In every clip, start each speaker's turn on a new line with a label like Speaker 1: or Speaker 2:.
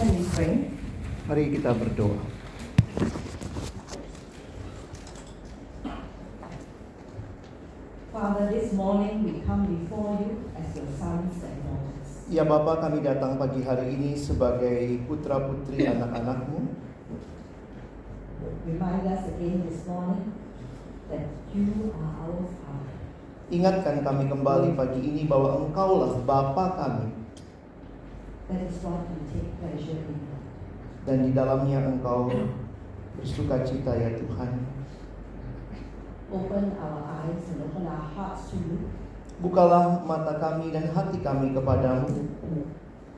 Speaker 1: Can we pray?
Speaker 2: Mari kita berdoa.
Speaker 1: Father, this morning we come before you as your sons and daughters.
Speaker 2: Ya Bapa kami datang pagi hari ini sebagai putra-putri anak-anakmu.
Speaker 1: Remind us again this morning that you are our Father.
Speaker 2: Ingatkan kami kembali pagi ini bahwa engkaulah Bapa kami
Speaker 1: That is what we take pleasure in.
Speaker 2: dan di dalamnya engkau bersuka cita ya Tuhan.
Speaker 1: Open our eyes and open our hearts to you,
Speaker 2: Bukalah mata kami dan hati kami kepadamu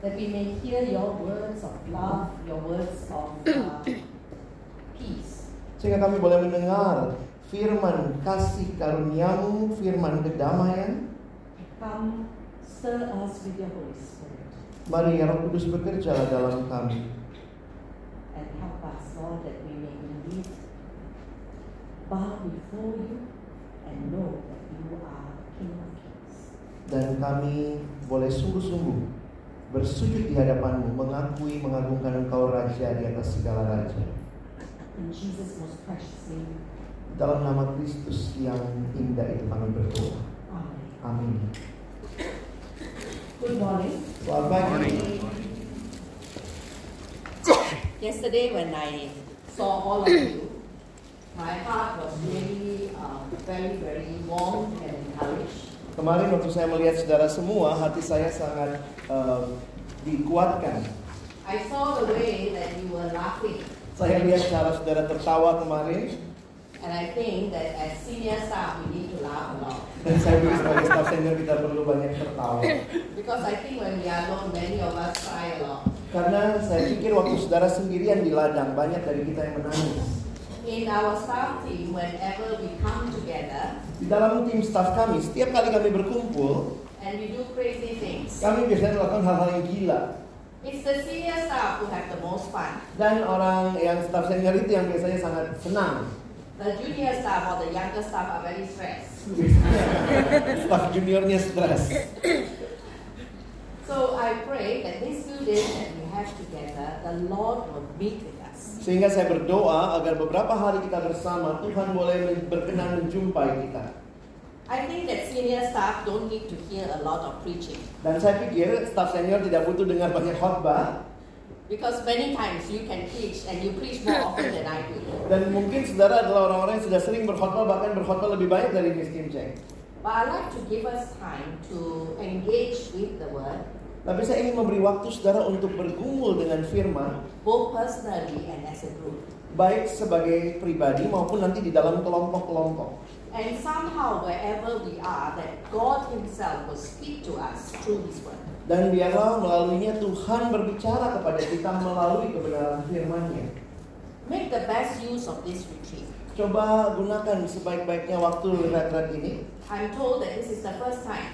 Speaker 1: that we may hear your words of love, your words of uh, peace.
Speaker 2: sehingga kami boleh mendengar firman kasih karuniamu, firman kedamaian.
Speaker 1: Come, stir us with your Holy Spirit
Speaker 2: Mari ya Roh Kudus bekerjalah dalam kami
Speaker 1: and help us, Lord, that we may indeed bow before you and know that you are the King of Kings.
Speaker 2: dan kami boleh sungguh-sungguh bersujud di hadapanmu mengakui mengagungkan engkau raja di atas segala raja
Speaker 1: In Jesus' most precious name,
Speaker 2: dalam nama Kristus yang indah itu kami berdoa
Speaker 1: Amen.
Speaker 2: amin
Speaker 1: Good morning.
Speaker 2: selamat pagi
Speaker 1: Yesterday, when I saw all of you, my heart was really um, very, very warm and encouraged.
Speaker 2: kemarin waktu saya melihat saudara semua hati saya sangat eh, dikuatkan
Speaker 1: I saw the way that you were laughing,
Speaker 2: saya lihat cara saudara tertawa kemarin
Speaker 1: and I think that as senior staff, we need to laugh a lot.
Speaker 2: dan saya pikir sebagai staff senior kita perlu banyak tertawa
Speaker 1: Because I think when we are alone, many of us cry a lot.
Speaker 2: karena saya pikir waktu saudara sendirian di ladang banyak dari kita yang menangis
Speaker 1: In our staff team, whenever we come together
Speaker 2: Di dalam tim staff kami, setiap kali kami berkumpul,
Speaker 1: and we do crazy things,
Speaker 2: kami biasanya melakukan hal-hal yang gila.
Speaker 1: it's the senior staff who have the most fun.
Speaker 2: Dan orang yang staff senior itu yang biasanya sangat senang.
Speaker 1: The junior staff or the younger staff are very stressed.
Speaker 2: staff juniornya stres.
Speaker 1: So I pray that these few days that we have together, the Lord will meet with us.
Speaker 2: Sehingga saya berdoa agar beberapa hari kita bersama Tuhan boleh men- berkenan menjumpai kita.
Speaker 1: I think that senior staff don't need to hear a lot of preaching
Speaker 2: Dan saya pikir staff senior tidak butuh dengar banyak khotbah
Speaker 1: because many times you can preach and you preach more often than I do.
Speaker 2: dan mungkin saudara adalah orang-orang yang sudah sering berkhotbah bahkan berkhotbah lebih banyak dari Miss Kim Cheng.
Speaker 1: But I like to give us time to engage with the word,
Speaker 2: Tapi saya ingin memberi waktu saudara untuk bergumul dengan firman
Speaker 1: both personally and as a group.
Speaker 2: baik sebagai pribadi maupun nanti di dalam kelompok-kelompok.
Speaker 1: And somehow, wherever we are, that God Himself will speak to us through His word.
Speaker 2: Dan biarlah melaluinya Tuhan berbicara kepada kita melalui kebenaran firman-Nya.
Speaker 1: Make the best use of this retreat.
Speaker 2: Coba gunakan sebaik-baiknya waktu retret ini.
Speaker 1: I'm told that this is the first time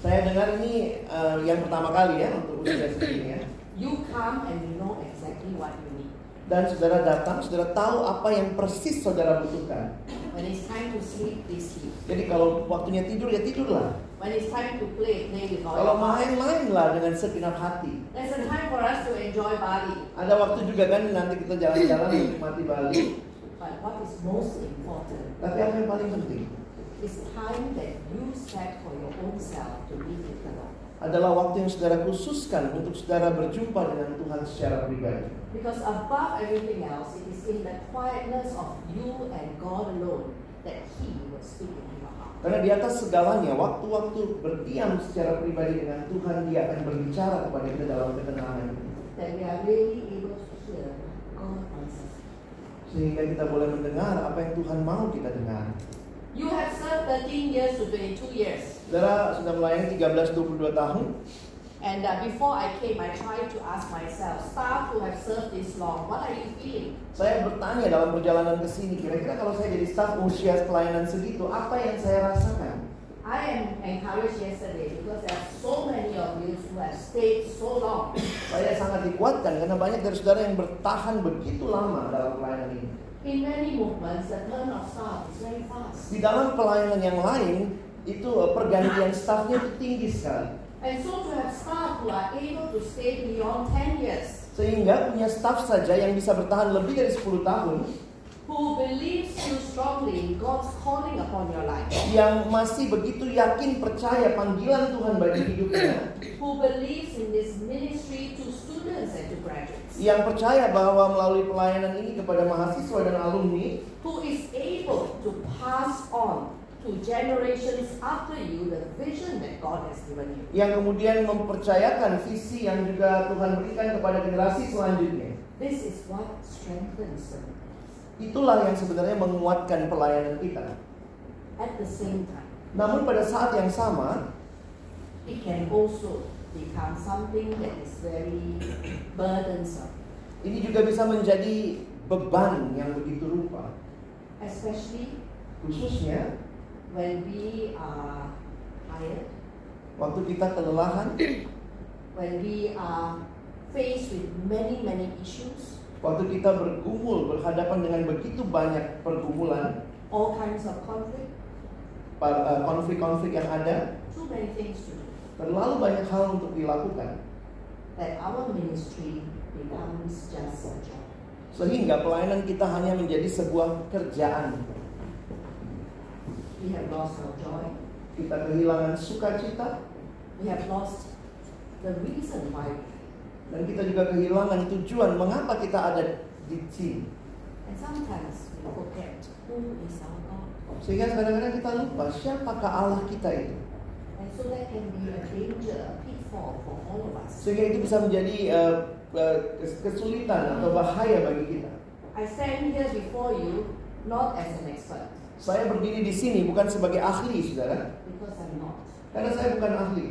Speaker 2: Saya dengar ini eh, yang pertama kali ya untuk usia segini ya.
Speaker 1: you come and you know exactly what you need.
Speaker 2: Dan saudara datang, saudara tahu apa yang persis saudara butuhkan.
Speaker 1: When it's time to sleep, they sleep.
Speaker 2: Jadi kalau waktunya tidur ya tidurlah.
Speaker 1: When it's time to play, play with all
Speaker 2: Kalau
Speaker 1: your heart.
Speaker 2: main-mainlah dengan segenap hati.
Speaker 1: There's a time for us to enjoy Bali,
Speaker 2: Ada waktu juga kan nanti kita jalan-jalan menikmati Bali.
Speaker 1: but what is most important
Speaker 2: Tapi apa yang paling penting?
Speaker 1: is time that you set for your own self to be with the Lord.
Speaker 2: adalah waktu yang saudara khususkan untuk saudara berjumpa dengan Tuhan secara pribadi.
Speaker 1: Because above everything else, it is in the quietness of you and God alone that He will speak in your heart.
Speaker 2: Karena di atas segalanya, waktu-waktu berdiam secara pribadi dengan Tuhan, dia akan berbicara kepada kita dalam ketenangan.
Speaker 3: that we are really able to hear God answers.
Speaker 2: Sehingga kita boleh mendengar apa yang Tuhan mau kita dengar.
Speaker 3: You have served 13 years to 22 years.
Speaker 2: Saudara sudah melayani 13-22 tahun.
Speaker 3: And uh, before I came, I tried to ask myself, staff who have served this long, what are you feeling?
Speaker 2: Saya bertanya dalam perjalanan ke sini, kira-kira kalau saya jadi staf usia pelayanan segitu, apa yang saya rasakan?
Speaker 3: I am encouraged yesterday because there are so many of you who have stayed so long.
Speaker 2: Saya sangat dikuatkan karena banyak dari saudara yang bertahan begitu lama dalam pelayanan ini.
Speaker 3: In many movements, the turn of staff is very fast.
Speaker 2: Di dalam pelayanan yang lain, itu eh, pergantian stafnya itu tinggi sekali.
Speaker 3: And so to have staff who are able to stay beyond 10 years,
Speaker 2: Sehingga punya staf saja yang bisa bertahan lebih dari 10 tahun,
Speaker 3: who believes you strongly in God's calling upon your life,
Speaker 2: yang masih begitu yakin percaya panggilan Tuhan bagi hidupnya,
Speaker 3: who believes in this ministry to students and to graduates,
Speaker 2: yang percaya bahwa melalui pelayanan ini kepada mahasiswa dan alumni,
Speaker 3: who is able to pass on to generations after you the vision that God has given you.
Speaker 2: yang kemudian mempercayakan visi yang juga Tuhan berikan kepada generasi selanjutnya.
Speaker 3: This is what strengthens them.
Speaker 2: Itulah yang sebenarnya menguatkan pelayanan kita.
Speaker 3: At the same time,
Speaker 2: Namun pada saat yang sama,
Speaker 3: it can also become something that is very burdensome,
Speaker 2: ini juga bisa menjadi beban yang begitu rupa.
Speaker 3: especially
Speaker 2: Khususnya
Speaker 3: when we are tired,
Speaker 2: waktu kita kelelahan,
Speaker 3: when we are faced with many, many issues,
Speaker 2: waktu kita bergumul berhadapan dengan begitu banyak pergumulan,
Speaker 3: all kinds of conflict,
Speaker 2: pa- eh, konflik-konflik yang ada,
Speaker 3: too many things to do,
Speaker 2: terlalu banyak hal untuk dilakukan.
Speaker 3: that our ministry becomes just a job.
Speaker 2: Sehingga pelayanan kita hanya menjadi sebuah kerjaan.
Speaker 3: We have lost our joy,
Speaker 2: Kita kehilangan sukacita,
Speaker 3: we have lost the reason why
Speaker 2: Dan kita juga kehilangan tujuan mengapa kita ada di sini.
Speaker 3: And sometimes we forget who is our God.
Speaker 2: Sehingga kadang-kadang kita lupa siapakah Allah kita itu.
Speaker 3: And so that can be a danger, a pitfall for all of us.
Speaker 2: Sehingga itu bisa menjadi eh, eh, kes- kesulitan atau bahaya bagi kita.
Speaker 3: I stand here before you not as an expert,
Speaker 2: Saya berdiri di sini bukan sebagai ahli, saudara.
Speaker 3: because I'm not.
Speaker 2: Karena saya bukan ahli.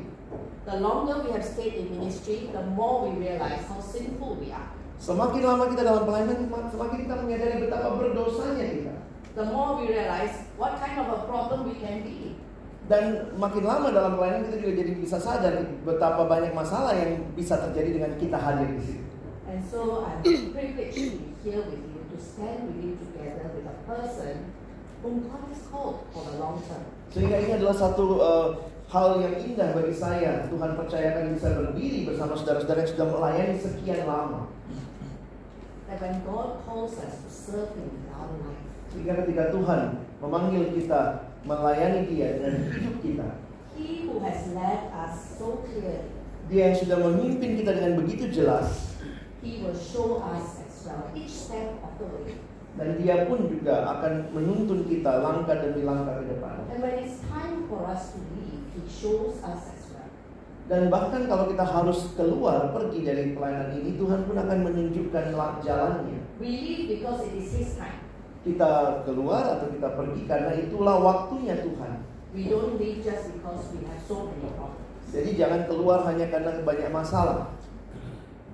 Speaker 3: The longer we have stayed in ministry, the more we realize how sinful we are.
Speaker 2: Semakin lama kita dalam pelayanan, sema- semakin kita menyadari betapa berdosanya kita.
Speaker 3: The more we realize what kind of a problem we can be.
Speaker 2: Dan makin lama dalam pelayanan kita juga jadi bisa sadar betapa banyak masalah yang bisa terjadi dengan kita hadir di sini.
Speaker 3: And so I'm privileged to be here with you, to stand with you together with a person whom God has called for the long term.
Speaker 2: Sehingga ini adalah satu eh, hal yang indah bagi saya. Tuhan percayakan bisa berdiri bersama saudara-saudara yang sudah melayani sekian lama.
Speaker 3: That when God calls us to serve Him with our life,
Speaker 2: Sehingga ketika Tuhan memanggil kita melayani Dia dengan hidup kita,
Speaker 3: He who has led us so clearly,
Speaker 2: Dia yang sudah memimpin kita dengan begitu jelas,
Speaker 3: He will show us as well each step of the way.
Speaker 2: dan Dia pun juga akan menuntun kita langkah demi langkah ke depan.
Speaker 3: And when it's time for us to leave, He shows us as well.
Speaker 2: Dan bahkan kalau kita harus keluar pergi dari pelayanan ini, Tuhan pun akan menunjukkan la- jalannya.
Speaker 3: We leave because it is His time.
Speaker 2: Kita keluar atau kita pergi karena itulah waktunya Tuhan.
Speaker 3: We don't leave just because we have so many problems.
Speaker 2: Jadi jangan keluar hanya karena banyak masalah.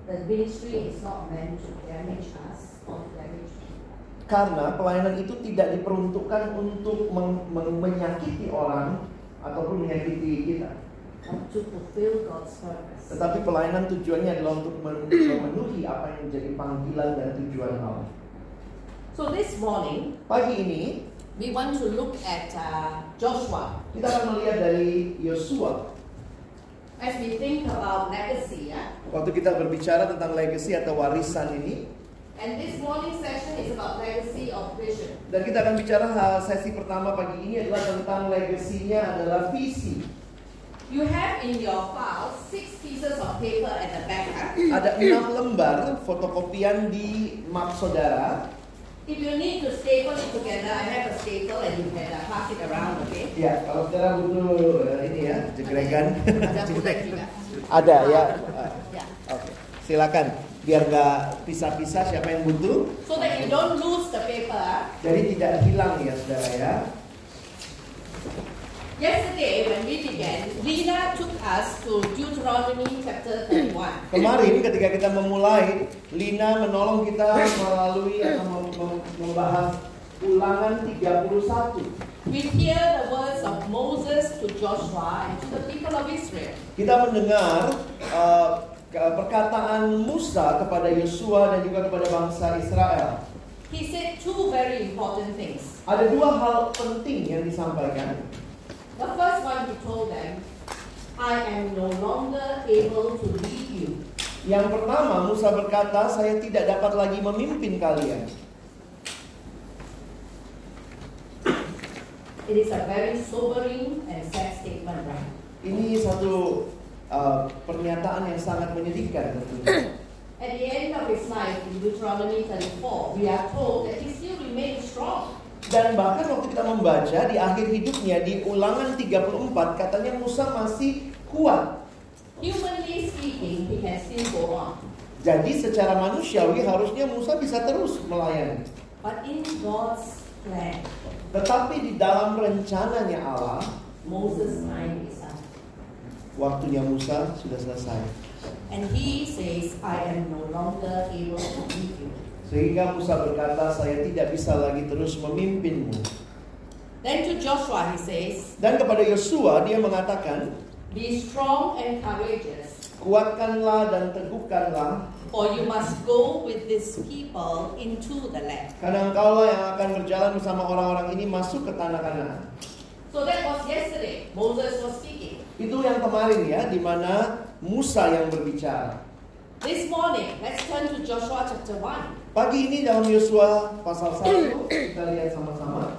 Speaker 3: The ministry is not meant to damage us or to damage people.
Speaker 2: Karena pelayanan itu tidak diperuntukkan untuk meng- meng- menyakiti orang ataupun menyakiti kita.
Speaker 3: But to fulfill God's purpose.
Speaker 2: Tetapi pelayanan tujuannya adalah untuk men- memenuhi apa yang menjadi panggilan dan tujuan Allah.
Speaker 3: So this morning,
Speaker 2: Pagi ini
Speaker 3: we want to look at uh, Joshua.
Speaker 2: kita akan melihat dari Yosua.
Speaker 3: As we think about legacy, yeah?
Speaker 2: Waktu kita berbicara tentang legacy atau warisan ini,
Speaker 3: and this morning session is about legacy of vision.
Speaker 2: dan kita akan bicara ha, sesi pertama pagi ini adalah tentang legasinya adalah visi.
Speaker 3: You have in your file six pieces of paper at the back. huh?
Speaker 2: Ada enam lembar fotokopian di map saudara.
Speaker 3: If you need to staple it together, I have a staple and you can uh, pass it around, okay?
Speaker 2: Ya, kalau saudara butuh eh, ini ya, jegregan. Ah,
Speaker 3: Ada bulan juga.
Speaker 2: Ada ya.
Speaker 3: Yeah.
Speaker 2: Oke. Silakan, biar nggak pisah-pisah siapa yang butuh.
Speaker 3: so that you don't lose the paper. ah.
Speaker 2: Jadi tidak hilang ya saudara ya.
Speaker 3: Yesterday, when we began, Lina took us to Deuteronomy chapter 31.
Speaker 2: Kemarin ketika kita memulai, Lina menolong kita melalui atau mem- mem- membahas ulangan 31.
Speaker 3: We hear the words of Moses to Joshua and to the people of Israel.
Speaker 2: Kita mendengar eh, ke- perkataan Musa kepada Yosua dan juga kepada bangsa Israel.
Speaker 3: He said two very important things.
Speaker 2: Ada dua hal penting yang disampaikan.
Speaker 3: The first one, he told them, I am no longer able to lead you.
Speaker 2: Yang pertama, Musa berkata, "Saya tidak dapat lagi memimpin kalian."
Speaker 3: It is a very sobering and sad statement, right?
Speaker 2: Ini satu eh, pernyataan yang sangat menyedihkan tentunya.
Speaker 3: At the end of his life, in Deuteronomy 34, we are told that he still remained strong.
Speaker 2: Dan bahkan waktu kita membaca di akhir hidupnya di ulangan 34 katanya Musa masih kuat.
Speaker 3: Humanly speaking, he can still go on.
Speaker 2: Jadi secara manusiawi harusnya Musa bisa terus melayani.
Speaker 3: But in God's plan,
Speaker 2: Tetapi di dalam rencananya Allah,
Speaker 3: Moses' time is up.
Speaker 2: waktunya Musa sudah selesai.
Speaker 3: And he says, I am no longer able to lead you.
Speaker 2: Sehingga Musa berkata, saya tidak bisa lagi terus memimpinmu.
Speaker 3: Then to Joshua he says,
Speaker 2: Dan kepada Yosua dia mengatakan,
Speaker 3: Be strong and courageous,
Speaker 2: kuatkanlah dan teguhkanlah,
Speaker 3: for you must go with these people into the land.
Speaker 2: karena engkaulah yang akan berjalan bersama orang-orang ini masuk ke tanah Kanaan.
Speaker 3: So that was yesterday. Moses was speaking.
Speaker 2: Itu yang kemarin ya, di mana Musa yang berbicara.
Speaker 3: This morning, let's turn to Joshua chapter 1.
Speaker 2: Pagi ini dalam Yosua pasal 1 kita lihat sama-sama.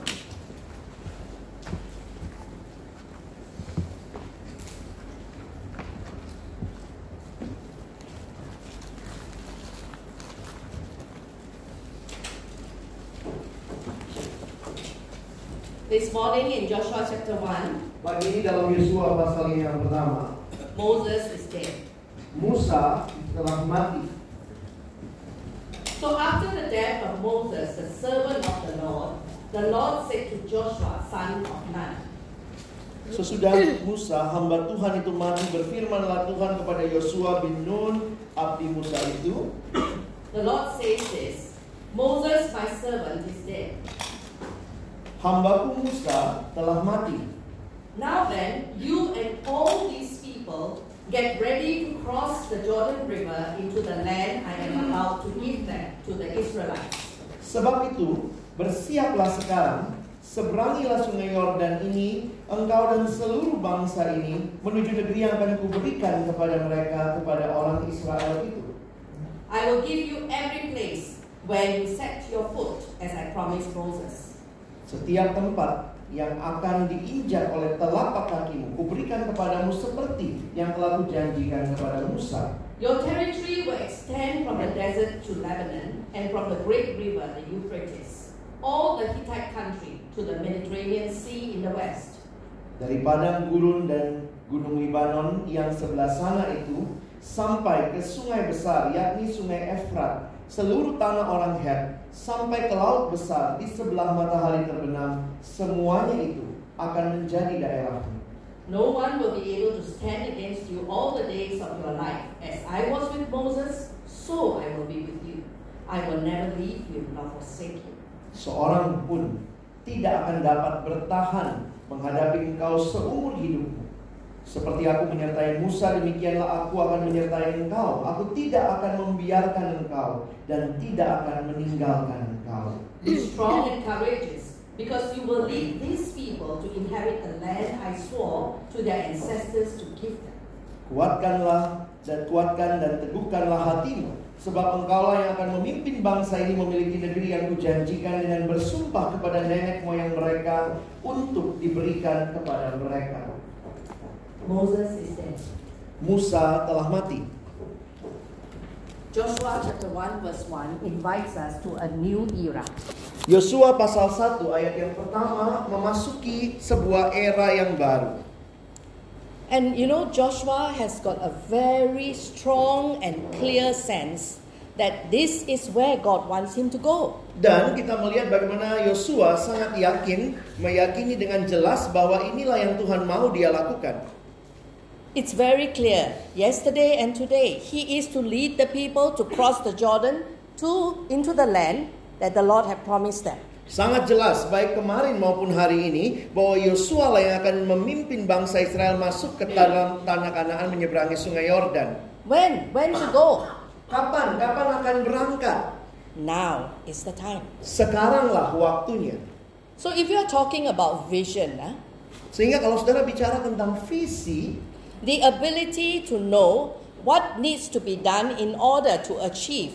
Speaker 3: This morning in Joshua chapter 1,
Speaker 2: Pagi ini dalam Yosua pasal yang pertama,
Speaker 3: Moses is dead.
Speaker 2: Musa telah mati.
Speaker 3: So after the death of Moses, the servant of the Lord, the Lord said to Joshua, son of Nun,
Speaker 2: Sesudah Musa, hamba Tuhan itu mati, berfirmanlah Tuhan kepada Yosua bin Nun, abdi Musa itu,
Speaker 3: The Lord says this Moses, my servant, is dead.
Speaker 2: hambaku Musa telah mati.
Speaker 3: Now then, you and all these people get ready to cross the Jordan River into the land I am about to give them to the Israelites.
Speaker 2: Sebab itu, bersiaplah sekarang, seberangilah sungai Yordan ini, engkau dan seluruh bangsa ini, menuju negeri yang akan kuberikan kepada mereka, kepada orang Israel itu.
Speaker 3: I will give you every place where you set your foot, as I promised Moses.
Speaker 2: Setiap tempat yang akan diinjak oleh telapak kakimu, kuberikan kepadamu seperti yang telah kujanjikan kepada Musa.
Speaker 3: Your territory will extend from the desert to Lebanon and from the great river, the Euphrates, all the Hittite country to the Mediterranean Sea in the west.
Speaker 2: Dari padang gurun dan gunung Libanon yang sebelah sana itu sampai ke sungai besar yakni sungai Efrat, seluruh tanah orang Het sampai ke laut besar di sebelah matahari terbenam, semuanya itu akan menjadi daerahmu.
Speaker 3: No one will be able to stand against you all the days of your life. As I was with Moses, so I will be with you. I will never leave you nor forsake you.
Speaker 2: Seorang pun tidak akan dapat bertahan menghadapi engkau seumur hidupmu. Seperti aku menyertai Musa, demikianlah aku akan menyertai engkau. Aku tidak akan membiarkan engkau dan tidak akan meninggalkan engkau.
Speaker 3: Be strong and courageous, because you will lead these people to inherit the land I swore to their ancestors to give them.
Speaker 2: Kuatkanlah dan kuatkan dan teguhkanlah hatimu. Sebab engkaulah yang akan memimpin bangsa ini memiliki negeri yang kujanjikan dengan bersumpah kepada nenek moyang mereka untuk diberikan kepada mereka.
Speaker 3: Moses is dead.
Speaker 2: Musa telah mati.
Speaker 3: Joshua chapter 1 verse 1 invites us to a new era.
Speaker 2: Yosua pasal 1 ayat yang pertama memasuki sebuah era yang baru.
Speaker 3: And you know, Joshua has got a very strong and clear sense that this is where God wants him to go.
Speaker 2: Dan kita melihat bagaimana Yosua sangat yakin, meyakini dengan jelas bahwa inilah yang Tuhan mau dia lakukan.
Speaker 3: It's very clear. Yesterday and today, he is to lead the people to cross the Jordan to into the land that the Lord had promised them.
Speaker 2: Sangat jelas baik kemarin maupun hari ini bahwa Yosua lah yang akan memimpin bangsa Israel masuk ke tanah tanah Kanaan menyeberangi Sungai Yordan.
Speaker 3: When? When to go?
Speaker 2: Kapan? Kapan akan berangkat?
Speaker 3: Now is the time.
Speaker 2: Sekaranglah waktunya.
Speaker 3: So if you are talking about vision, ah,
Speaker 2: Sehingga kalau saudara bicara tentang visi,
Speaker 3: the ability to know what needs to be done in order to achieve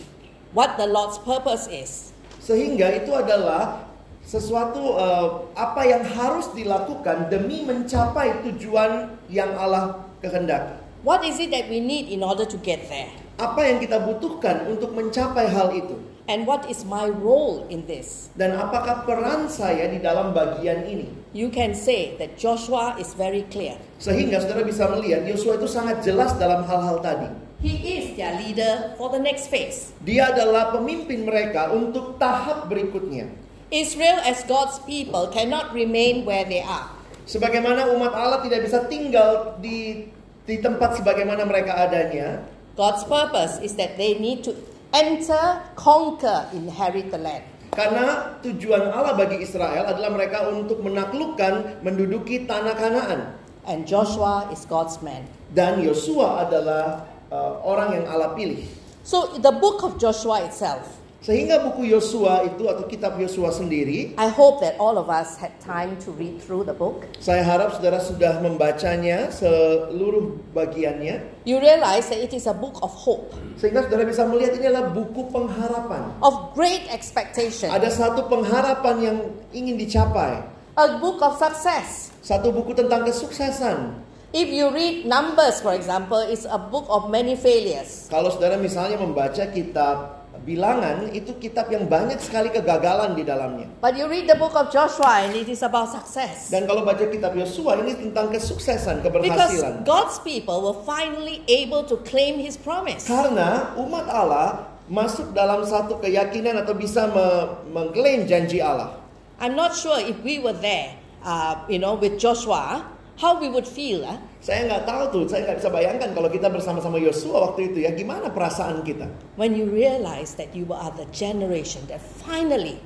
Speaker 3: what the Lord's purpose is.
Speaker 2: sehingga itu adalah sesuatu eh, apa yang harus dilakukan demi mencapai tujuan yang Allah kehendaki.
Speaker 3: What is it that we need in order to get there?
Speaker 2: Apa yang kita butuhkan untuk mencapai hal itu?
Speaker 3: And what is my role in this?
Speaker 2: Dan apakah peran saya di dalam bagian ini?
Speaker 3: You can say that Joshua is very clear.
Speaker 2: Sehingga saudara bisa melihat Yosua itu sangat jelas dalam hal-hal tadi.
Speaker 3: He is their leader for the next phase.
Speaker 2: Dia adalah pemimpin mereka untuk tahap berikutnya.
Speaker 3: Israel, as God's people, cannot remain where they are.
Speaker 2: Sebagaimana umat Allah tidak bisa tinggal di di tempat sebagaimana mereka adanya,
Speaker 3: God's purpose is that they need to enter, conquer, inherit the land.
Speaker 2: Karena tujuan Allah bagi Israel adalah mereka untuk menaklukkan, menduduki tanah Kanaan.
Speaker 3: And Joshua is God's man.
Speaker 2: Dan Yosua adalah uh, orang yang Allah pilih.
Speaker 3: So, the book of Joshua itself,
Speaker 2: Sehingga buku Yosua itu atau kitab Yosua sendiri,
Speaker 3: I hope that all of us had time to read through the book.
Speaker 2: saya harap saudara sudah membacanya seluruh bagiannya.
Speaker 3: You realize that it is a book of hope,
Speaker 2: Sehingga saudara bisa melihat ini adalah buku pengharapan.
Speaker 3: of great expectation,
Speaker 2: Ada satu pengharapan yang ingin dicapai.
Speaker 3: a book of success.
Speaker 2: Satu buku tentang kesuksesan.
Speaker 3: If you read Numbers, for example, it's a book of many failures.
Speaker 2: Kalau saudara misalnya membaca kitab bilangan, itu kitab yang banyak sekali kegagalan di dalamnya.
Speaker 3: But you read the book of Joshua and it is about success.
Speaker 2: Dan kalau baca kitab Yosua ini tentang kesuksesan,
Speaker 3: Because
Speaker 2: keberhasilan.
Speaker 3: God's people were finally able to claim his promise.
Speaker 2: Karena umat Allah masuk dalam satu keyakinan atau bisa me- mengklaim janji Allah.
Speaker 3: I'm not sure if we were there, uh, you know, with Joshua, how we would feel. ah.
Speaker 2: Saya nggak tahu tuh, saya nggak bisa bayangkan kalau kita bersama-sama Yosua waktu itu ya, gimana perasaan kita?
Speaker 3: when you realize that you are the generation that finally,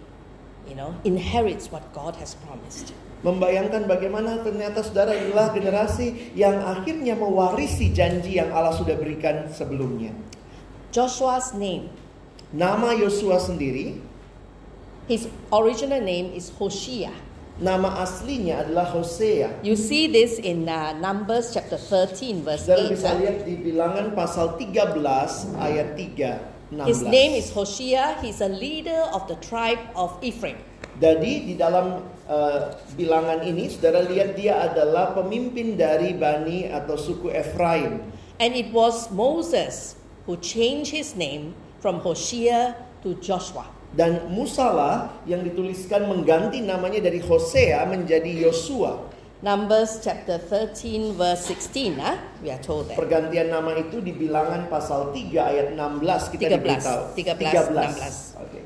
Speaker 3: you know, inherits what God has promised.
Speaker 2: Membayangkan bagaimana ternyata saudara adalah generasi yang akhirnya mewarisi janji yang Allah sudah berikan sebelumnya.
Speaker 3: Joshua's name,
Speaker 2: Nama Yosua sendiri,
Speaker 3: his original name is Hoshea.
Speaker 2: nama aslinya adalah Hosea.
Speaker 3: You see this in uh, Numbers chapter 13, verse
Speaker 2: Saudara
Speaker 3: 8.
Speaker 2: bisa
Speaker 3: huh?
Speaker 2: lihat di bilangan pasal 13 ayat 3
Speaker 3: His name is
Speaker 2: 16.
Speaker 3: Hoshea. He's a leader of the tribe of Ephraim.
Speaker 2: Jadi di dalam eh, bilangan ini saudara lihat dia adalah pemimpin dari Bani atau suku Efraim.
Speaker 3: And it was Moses who changed his name from Hoshea to Joshua.
Speaker 2: Dan Musalah yang dituliskan mengganti namanya dari Hosea menjadi Yosua.
Speaker 3: Numbers chapter 13, verse 16. huh? We are told that.
Speaker 2: Pergantian nama itu di bilangan pasal 3 ayat 16 kita
Speaker 3: 13,
Speaker 2: diberitahu.
Speaker 3: 13,
Speaker 2: 13. Oke.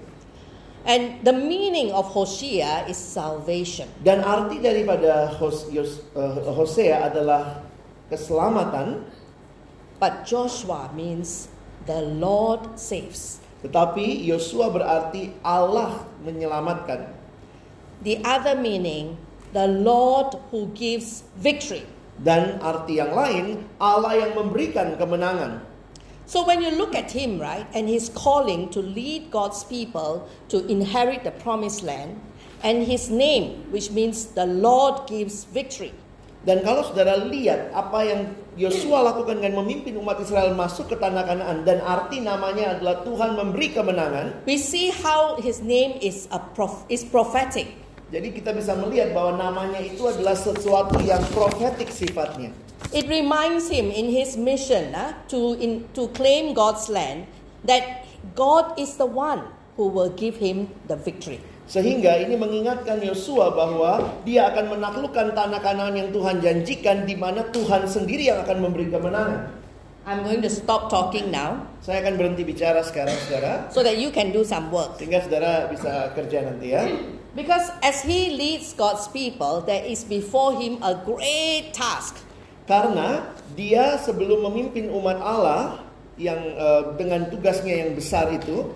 Speaker 3: And the meaning of Hoshea is salvation.
Speaker 2: Dan arti daripada Hos- Yos- eh, Hosea adalah keselamatan
Speaker 3: But Joshua means the Lord saves.
Speaker 2: Tetapi Yosua berarti Allah menyelamatkan.
Speaker 3: The other meaning, the Lord who gives victory.
Speaker 2: Dan arti yang lain, Allah yang memberikan kemenangan.
Speaker 3: So when you look at him, right, and his calling to lead God's people to inherit the promised land, and his name, which means the Lord gives victory,
Speaker 2: Dan kalau saudara lihat apa yang Yosua lakukan dengan memimpin umat Israel masuk ke tanah Kanaan dan arti namanya adalah Tuhan memberi kemenangan.
Speaker 3: we see how his name is, a prof- is prophetic.
Speaker 2: Jadi kita bisa melihat bahwa namanya itu adalah sesuatu yang profetik sifatnya.
Speaker 3: It reminds him in his mission ah, to, in, to claim God's land that God is the one who will give him the victory.
Speaker 2: Sehingga ini mengingatkan Yosua bahwa dia akan menaklukkan tanah Kanaan yang Tuhan janjikan di mana Tuhan sendiri yang akan memberi kemenangan.
Speaker 3: I'm going to stop talking now
Speaker 2: Saya akan berhenti bicara sekarang saudara
Speaker 3: so that you can do some work.
Speaker 2: sehingga saudara bisa kerja nanti ya.
Speaker 3: Because as he leads God's people, there is before him a great task.
Speaker 2: Karena dia sebelum memimpin umat Allah yang eh, dengan tugasnya yang besar itu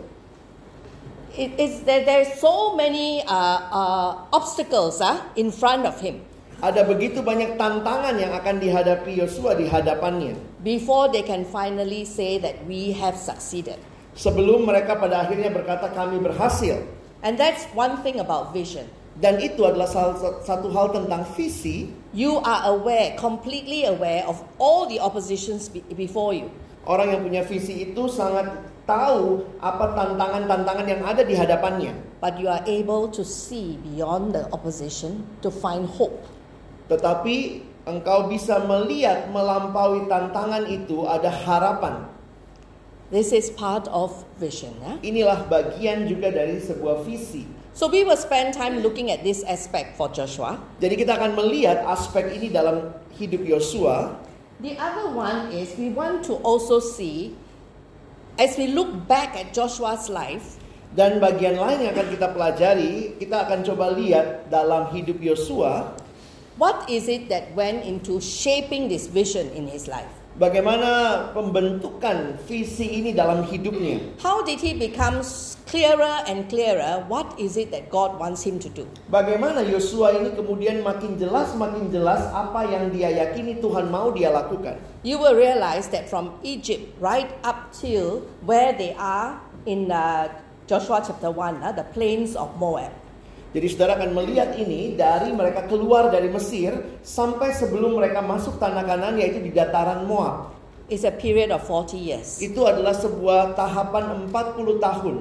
Speaker 3: It is that there are so many uh, uh, obstacles uh, in front of him
Speaker 2: ada begitu banyak tantangan yang akan dihadapi Yosua di hadapannya.
Speaker 3: before they can finally say that we have succeeded.
Speaker 2: Sebelum mereka pada akhirnya berkata kami berhasil.
Speaker 3: And that's one thing about vision.
Speaker 2: Dan itu adalah salah satu hal tentang visi.
Speaker 3: You are aware, completely aware of all the oppositions be- before you.
Speaker 2: Orang yang punya visi itu sangat tahu apa tantangan-tantangan yang ada di hadapannya.
Speaker 3: But you are able to see beyond the opposition to find hope.
Speaker 2: Tetapi engkau bisa melihat melampaui tantangan itu ada harapan.
Speaker 3: This is part of vision. eh?
Speaker 2: Inilah bagian juga dari sebuah visi.
Speaker 3: So we will spend time looking at this aspect for Joshua.
Speaker 2: Jadi kita akan melihat aspek ini dalam hidup Yosua.
Speaker 3: The other one is we want to also see, as we look back at Joshua's life,
Speaker 2: Dan bagian lain yang akan kita pelajari, kita akan coba lihat dalam hidup Yosua
Speaker 3: what is it that went into shaping this vision in his life?
Speaker 2: bagaimana pembentukan visi ini dalam hidupnya.
Speaker 3: How did he become s- clearer and clearer? What is it that God wants him to do?
Speaker 2: Bagaimana Yosua ini kemudian makin jelas makin jelas apa yang dia yakini Tuhan mau dia lakukan.
Speaker 3: You will realize that from Egypt right up till where they are in uh, Joshua chapter 1, uh, the plains of Moab.
Speaker 2: Jadi saudara akan melihat ini dari mereka keluar dari Mesir sampai sebelum mereka masuk tanah kanan yaitu di dataran Moab.
Speaker 3: It's a period of 40 years.
Speaker 2: Itu adalah sebuah tahapan 40 tahun.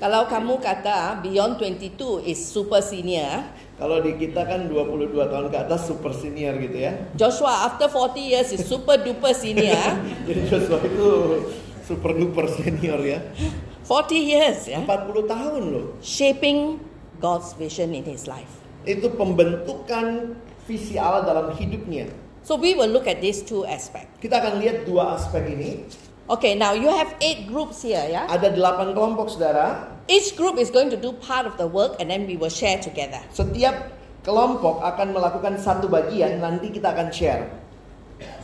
Speaker 3: Kalau kamu kata ah, beyond 22 is super senior, ah,
Speaker 2: Kalau di kita kan 22 tahun ke atas super senior gitu ya.
Speaker 3: Joshua after 40 years is super duper senior. ah.
Speaker 2: Jadi Joshua itu super duper senior ya.
Speaker 3: 40 years, yeah.
Speaker 2: 40 tahun loh.
Speaker 3: Shaping God's vision in his life.
Speaker 2: Itu pembentukan visi Allah dalam hidupnya.
Speaker 3: So we will look at these two aspects.
Speaker 2: Kita akan lihat dua aspek ini.
Speaker 3: Okay, now you have eight groups here, yeah.
Speaker 2: Ada delapan kelompok saudara.
Speaker 3: Each group is going to do part of the work and then we will share together.
Speaker 2: Setiap kelompok akan melakukan satu bagian. Nanti kita akan share.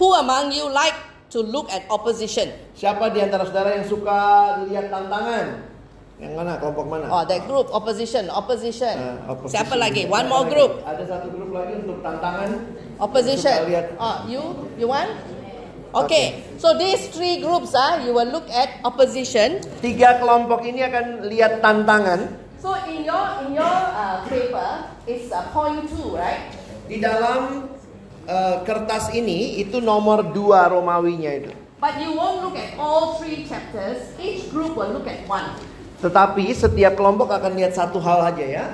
Speaker 3: Who among you like to look at opposition?
Speaker 2: Siapa di antara saudara yang suka lihat tantangan? Yang mana? Kelompok mana?
Speaker 3: Oh, that group, opposition, opposition.
Speaker 2: Eh, opposition.
Speaker 3: Siapa lagi? One
Speaker 2: Ada
Speaker 3: more
Speaker 2: lagi.
Speaker 3: group.
Speaker 2: Ada satu grup lagi untuk tantangan. Suka
Speaker 3: Opposition.
Speaker 2: lihat.
Speaker 3: Oh, you you want? Okay. So these three groups ah, you will look at opposition.
Speaker 2: Tiga kelompok ini akan lihat tantangan.
Speaker 3: So in your in your uh, paper, it's uh, point two, right?
Speaker 2: Di dalam eh, kertas ini itu nomor dua Romawinya itu.
Speaker 3: But you won't look at all three chapters. Each group will look at one.
Speaker 2: Tetapi setiap kelompok akan lihat satu hal aja ya.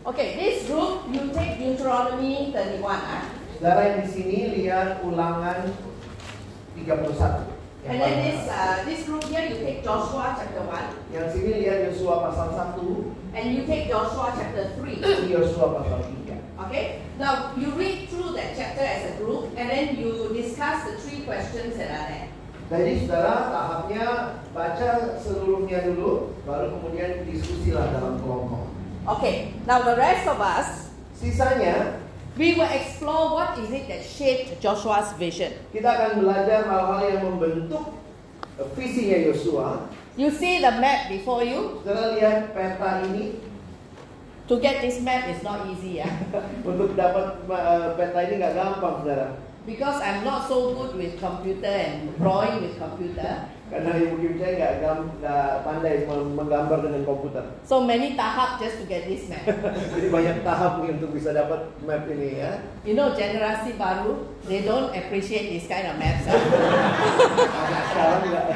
Speaker 3: Okay, this group you take Deuteronomy 31, ah.
Speaker 2: Saudara yang di sini lihat ulangan 31. Yang,
Speaker 3: and
Speaker 2: paling
Speaker 3: then this
Speaker 2: atas.
Speaker 3: uh, this group here you take Joshua chapter one,
Speaker 2: yang sini lihat Yosua pasal 1,
Speaker 3: and you take Joshua chapter three.
Speaker 2: ini Yosua pasal 3.
Speaker 3: Okay, now you read through that chapter as a group, and then you discuss the three questions that are there.
Speaker 2: Jadi saudara tahapnya baca seluruhnya dulu, baru kemudian diskusilah dalam kelompok.
Speaker 3: Okay, now the rest of us,
Speaker 2: Sisanya
Speaker 3: we will explore what is it that shaped Joshua's vision.
Speaker 2: kita akan belajar hal-hal yang membentuk eh, visinya Yosua.
Speaker 3: You see the map before you.
Speaker 2: Saudara lihat peta ini
Speaker 3: To get this map is not easy, yeah?
Speaker 2: untuk dapat eh, peta ini nggak gampang saudara.
Speaker 3: because I'm not so good with computer and drawing with computer.
Speaker 2: Karena ibu Kim saya nggak gam- nggak pandai meng- menggambar dengan komputer.
Speaker 3: So many tahap just to get this map.
Speaker 2: Jadi banyak tahap nih untuk bisa dapat map ini ya.
Speaker 3: You know, generasi baru, they don't appreciate this kind of maps. huh?
Speaker 2: Anak sekarang nggak.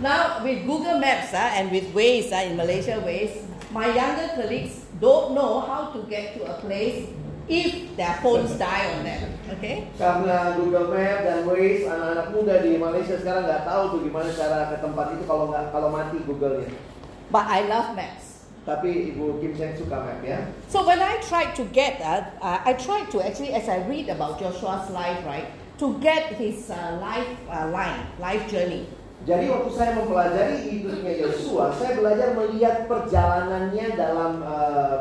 Speaker 3: Now, with Google Maps ah, and with Waze ah, in Malaysia, Waze, my younger colleagues don't know how to get to a place if their phones die on them. Okay?
Speaker 2: Karena Google Map dan Waze anak-anak muda di Malaysia sekarang nggak tahu tuh gimana cara ke tempat itu kalau nggak kalau mati Google-nya.
Speaker 3: But I love maths.
Speaker 2: Tapi Ibu Kim Cheng suka map ya.
Speaker 3: So when I tried to get that, uh, I tried to actually, as I read about Joshua's life, right, to get his uh, life uh, line, life journey.
Speaker 2: Jadi waktu saya mempelajari hidupnya Yosua, saya belajar melihat perjalanannya dalam eh,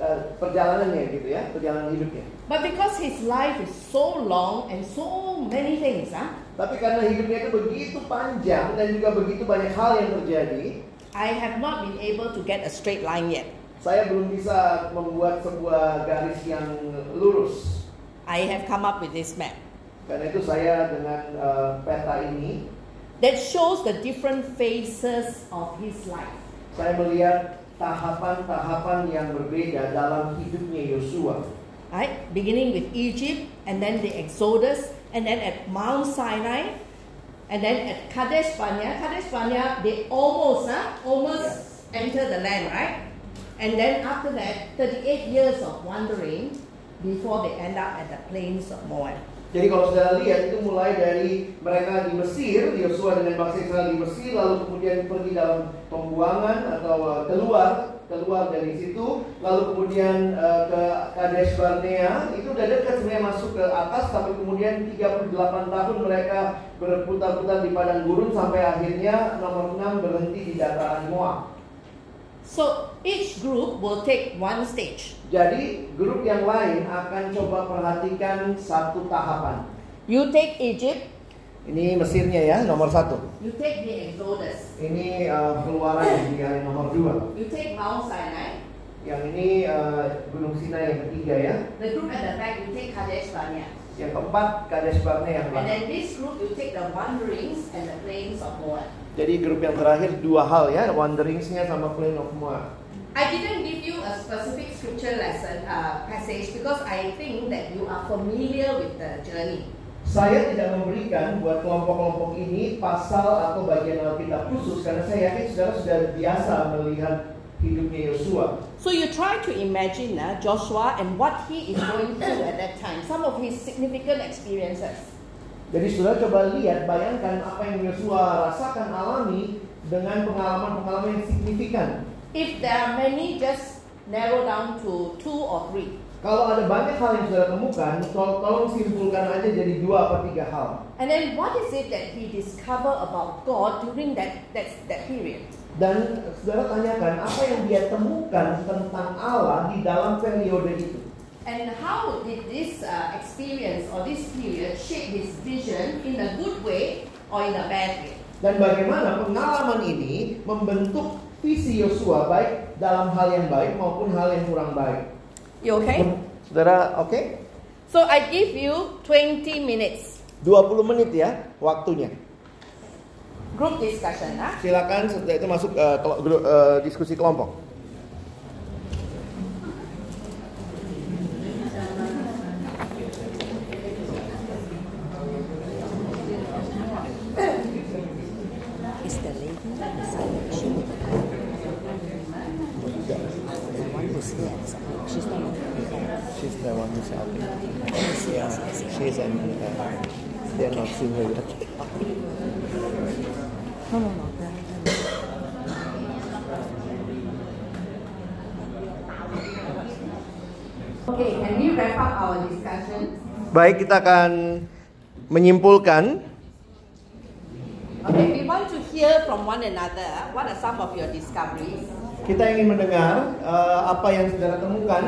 Speaker 2: eh, perjalanannya gitu ya, perjalanan hidupnya.
Speaker 3: But because his life is so long and so many things, ah, huh,
Speaker 2: Tapi karena hidupnya itu begitu panjang dan juga begitu banyak hal yang terjadi,
Speaker 3: I have not been able to get a straight line yet.
Speaker 2: saya belum bisa membuat sebuah garis yang lurus.
Speaker 3: I have come up with this map
Speaker 2: Karena itu saya dengan eh, peta ini,
Speaker 3: that shows the different phases of his life.
Speaker 2: saya melihat tahapan-tahapan yang berbeda dalam hidupnya Yosua.
Speaker 3: right? Beginning with Egypt, and then the Exodus, and then at Mount Sinai, and then at Kadesh Barnea. Kadesh Barnea, they almost, huh, almost enter the land, right? And then after that, 38 years of wandering before they end up at the plains of Moab.
Speaker 2: Jadi kalau saudara lihat itu mulai dari mereka di Mesir, Yosua dengan bangsa Israel di Mesir, lalu kemudian pergi dalam pembuangan atau uh, keluar keluar dari situ, lalu kemudian uh, ke Kadesh Barnea, itu udah dekat sebenarnya masuk ke atas, tapi kemudian 38 tahun mereka berputar-putar di padang gurun sampai akhirnya nomor 6 berhenti di dataran Moab.
Speaker 3: So each group will take one stage.
Speaker 2: Jadi grup yang lain akan coba perhatikan satu tahapan.
Speaker 3: You take Egypt,
Speaker 2: Ini Mesirnya ya nomor satu.
Speaker 3: you take the Exodus,
Speaker 2: Ini uh, keluaran di hari nomor 2
Speaker 3: you take Mount Sinai,
Speaker 2: Yang ini uh, Gunung Sinai yang ketiga ya
Speaker 3: the group at the back, you take Kadesh Barnea.
Speaker 2: Yang keempat Kadesh Barnea yang
Speaker 3: And
Speaker 2: belakang
Speaker 3: then this group, you take the wanderings and the plains of Moab.
Speaker 2: Jadi grup yang terakhir dua hal ya Wanderingnya sama Plain of Moab
Speaker 3: I didn't give you a specific scripture lesson uh, passage because I think that you are familiar with the journey.
Speaker 2: Saya tidak memberikan buat kelompok-kelompok ini pasal atau bagian Alkitab khusus Karena saya yakin saudara sudah biasa melihat hidupnya Yosua
Speaker 3: So you try to imagine uh, Joshua and what he is going through at that time, some of his significant experiences.
Speaker 2: Jadi saudara coba lihat, bayangkan apa yang Yosua rasakan alami Dengan pengalaman-pengalaman yang signifikan
Speaker 3: If there are many, just narrow down to two or three.
Speaker 2: Kalau ada banyak hal yang saudara temukan, tol- tolong simpulkan aja jadi dua atau tiga hal.
Speaker 3: And then what is it that he discovered about God during that, that, that period?
Speaker 2: Dan saudara tanyakan apa yang dia temukan tentang Allah di dalam periode itu.
Speaker 3: And how did this uh, experience or this period shape his vision in a good way or in a bad way?
Speaker 2: Dan bagaimana pengalaman ini membentuk visi Yosua baik dalam hal yang baik maupun hal yang kurang baik.
Speaker 3: You okay?
Speaker 2: Saudara oke?
Speaker 3: So I give you 20 minutes
Speaker 2: 20 menit ya waktunya.
Speaker 3: group discussion. Huh?
Speaker 2: Silakan setelah itu masuk eh, diskusi kelompok.
Speaker 3: Is the lady
Speaker 2: She's the one who's helping. Yeah, she's an uh, they're not seeing her yet.
Speaker 4: Okay, can we wrap up our discussion?
Speaker 2: Baik, kita akan menyimpulkan.
Speaker 3: Okay, we want to hear from one another. huh? What are some of your discoveries?
Speaker 2: Kita ingin mendengar eh, apa yang saudara temukan.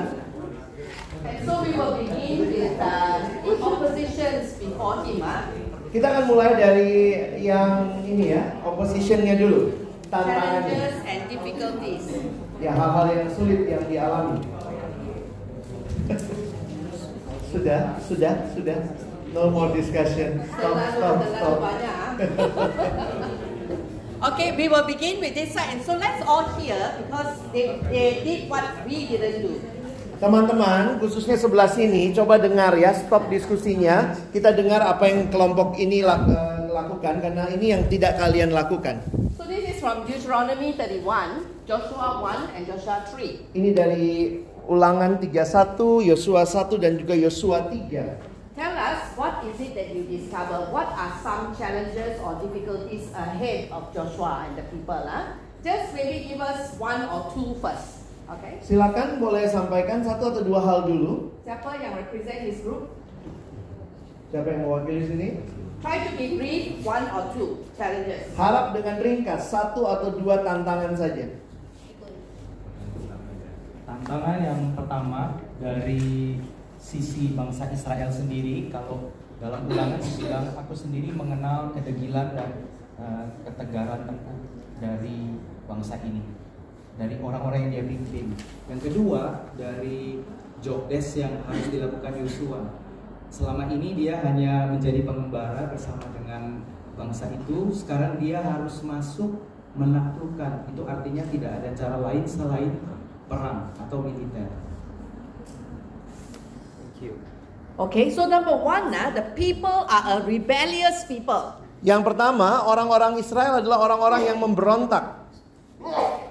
Speaker 4: And so we will begin with uh, the oppositions before him. huh?
Speaker 2: Kita akan mulai dari yang ini ya, oppositionnya dulu, tantangannya,
Speaker 3: Challenges and difficulties.
Speaker 2: ya hal-hal yang sulit yang dialami. sudah, sudah, sudah. No more discussion. Stop, stop,
Speaker 4: Terlalu
Speaker 2: stop.
Speaker 4: terlalu banyak. huh?
Speaker 3: Okay, we will begin with this side. And so let's all hear because they, they did what we didn't do.
Speaker 2: Teman-teman, khususnya sebelah sini, coba dengar ya, stop diskusinya. Kita dengar apa yang kelompok ini lak- eh, lakukan, karena ini yang tidak kalian lakukan.
Speaker 3: So this is from Deuteronomy 31, Joshua 1 and Joshua 3.
Speaker 2: Ini dari ulangan 31, Yosua 1, dan juga Yosua 3.
Speaker 3: Tell us what is it that you discover? What are some challenges or difficulties ahead of Joshua and the people? Huh? Just maybe give us one or two first. Okay?
Speaker 2: Silakan boleh sampaikan satu atau dua hal dulu.
Speaker 3: Siapa yang represent his group?
Speaker 2: Siapa yang mewakili sini?
Speaker 3: Try to be brief, one or two challenges.
Speaker 2: Harap dengan ringkas satu atau dua tantangan saja.
Speaker 5: Tantangan yang pertama dari sisi bangsa Israel sendiri, kalau dalam ulangan dibilang aku sendiri mengenal kedegilan dan eh, ketegaran tentang dari bangsa ini, dari orang-orang yang dia pimpin. Yang kedua dari job desk yang harus dilakukan Yosua. Selama ini dia hanya menjadi pengembara bersama dengan bangsa itu. Sekarang dia harus masuk menaklukkan. Itu artinya tidak ada cara lain selain perang atau militer. Thank you.
Speaker 6: Okay, so number one, ah, the people are a rebellious people.
Speaker 2: Yang pertama, orang-orang Israel adalah orang-orang yang memberontak.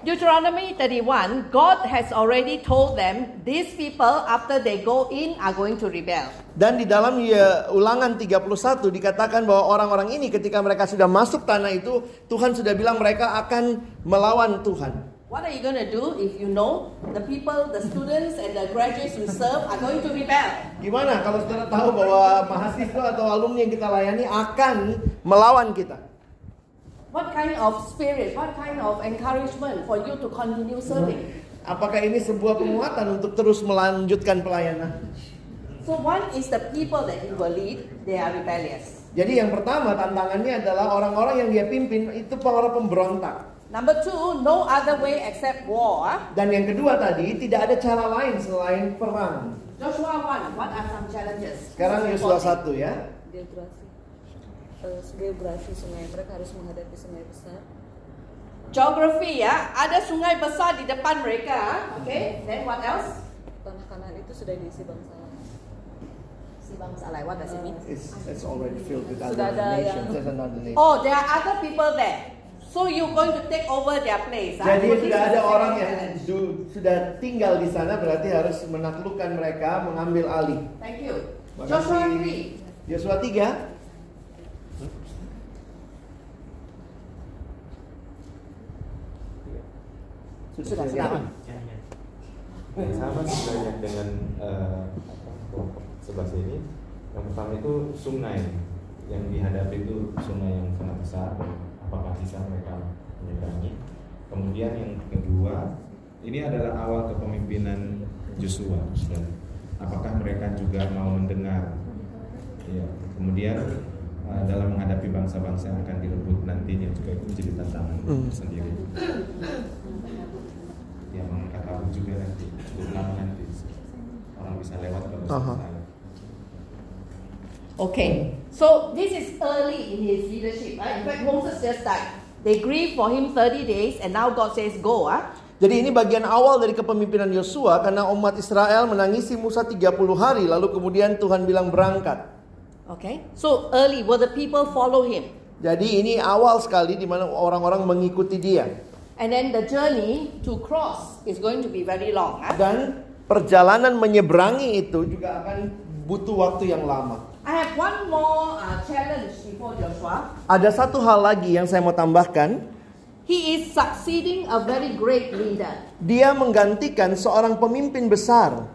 Speaker 6: Deuteronomy 31, God has already told them these people, after they go in, are going to rebel.
Speaker 2: Dan di dalam ya, ulangan 31 dikatakan bahwa orang-orang ini ketika mereka sudah masuk tanah itu, Tuhan sudah bilang mereka akan melawan Tuhan.
Speaker 3: What are you going to do if you know the people, the students, and the graduates you serve are going to rebel?
Speaker 2: Gimana kalau saudara tahu bahwa mahasiswa atau alumni yang kita layani akan melawan kita?
Speaker 3: What kind of spirit, what kind of encouragement for you to continue serving?
Speaker 2: Apakah ini sebuah penguatan untuk terus melanjutkan pelayanan?
Speaker 3: So one is the people that you will lead, they are rebellious.
Speaker 2: Jadi yang pertama tantangannya adalah orang-orang yang dia pimpin itu orang pemberontak.
Speaker 3: Number two, no other way except war. ah.
Speaker 2: Dan yang kedua tadi tidak ada cara lain selain perang.
Speaker 3: Joshua 1, what are some challenges?
Speaker 2: Sekarang Yosua 1 ya.
Speaker 1: geografi Eh, geografi sungai mereka harus menghadapi sungai besar
Speaker 3: Geography ya, ada sungai besar di depan mereka. ah. Okay, then what else?
Speaker 1: tanah kanan itu sudah diisi bangsa Eh. lain
Speaker 3: Sibang Salai, what does it mean?
Speaker 2: It's, it's already filled with
Speaker 1: Sudah
Speaker 2: other
Speaker 1: ada
Speaker 2: nations,
Speaker 1: yang-
Speaker 2: there's another nation.
Speaker 3: Oh, there are other people there. So you're going to take over their place. ah.
Speaker 2: Jadi
Speaker 3: So this
Speaker 2: sudah
Speaker 3: is
Speaker 2: ada
Speaker 3: the
Speaker 2: orang yang
Speaker 3: second challenge.
Speaker 2: du- sudah tinggal di sana berarti harus menaklukkan mereka, mengambil alih.
Speaker 3: Thank you.
Speaker 2: Makasih.
Speaker 3: Joshua 3.
Speaker 2: Yosua 3
Speaker 3: Sudah, sudah.
Speaker 7: Nah, sama sebenarnya dengan eh, apa, kelompok sebelah sini. Yang pertama itu sungai yang dihadapi itu sungai yang sangat besar. Apakah bisa mereka menyeberangi? Kemudian yang kedua, ini adalah awal kepemimpinan Joshua. Saudara. Apakah mereka juga mau mendengar? Iya. Kemudian eh, dalam menghadapi bangsa-bangsa yang akan direbut nantinya juga itu menjadi tantangan sendiri. Ya mengangkat aku juga kan, nanti, cukup lama nanti. Orang bisa lewat kalau
Speaker 2: Aha.
Speaker 7: saya.
Speaker 6: Okay, so this is early in his leadership. ah. In fact, Moses just died.
Speaker 3: They grieved for him 30 days and now God says go. Ah.
Speaker 2: Jadi ini bagian awal dari kepemimpinan Yosua karena umat Israel menangisi Musa 30 hari lalu kemudian Tuhan bilang berangkat.
Speaker 6: Okay,
Speaker 3: So early, will the people follow him?
Speaker 2: Jadi ini awal sekali di mana orang-orang mengikuti dia
Speaker 6: and then the journey
Speaker 3: To cross is going to be very long. Ah.
Speaker 2: dan perjalanan menyeberangi itu juga akan butuh waktu yang lama.
Speaker 3: I have one more uh, challenge before Joshua.
Speaker 2: Ada satu hal lagi yang saya mau tambahkan,
Speaker 3: He is succeeding a very great leader.
Speaker 2: dia menggantikan seorang pemimpin besar.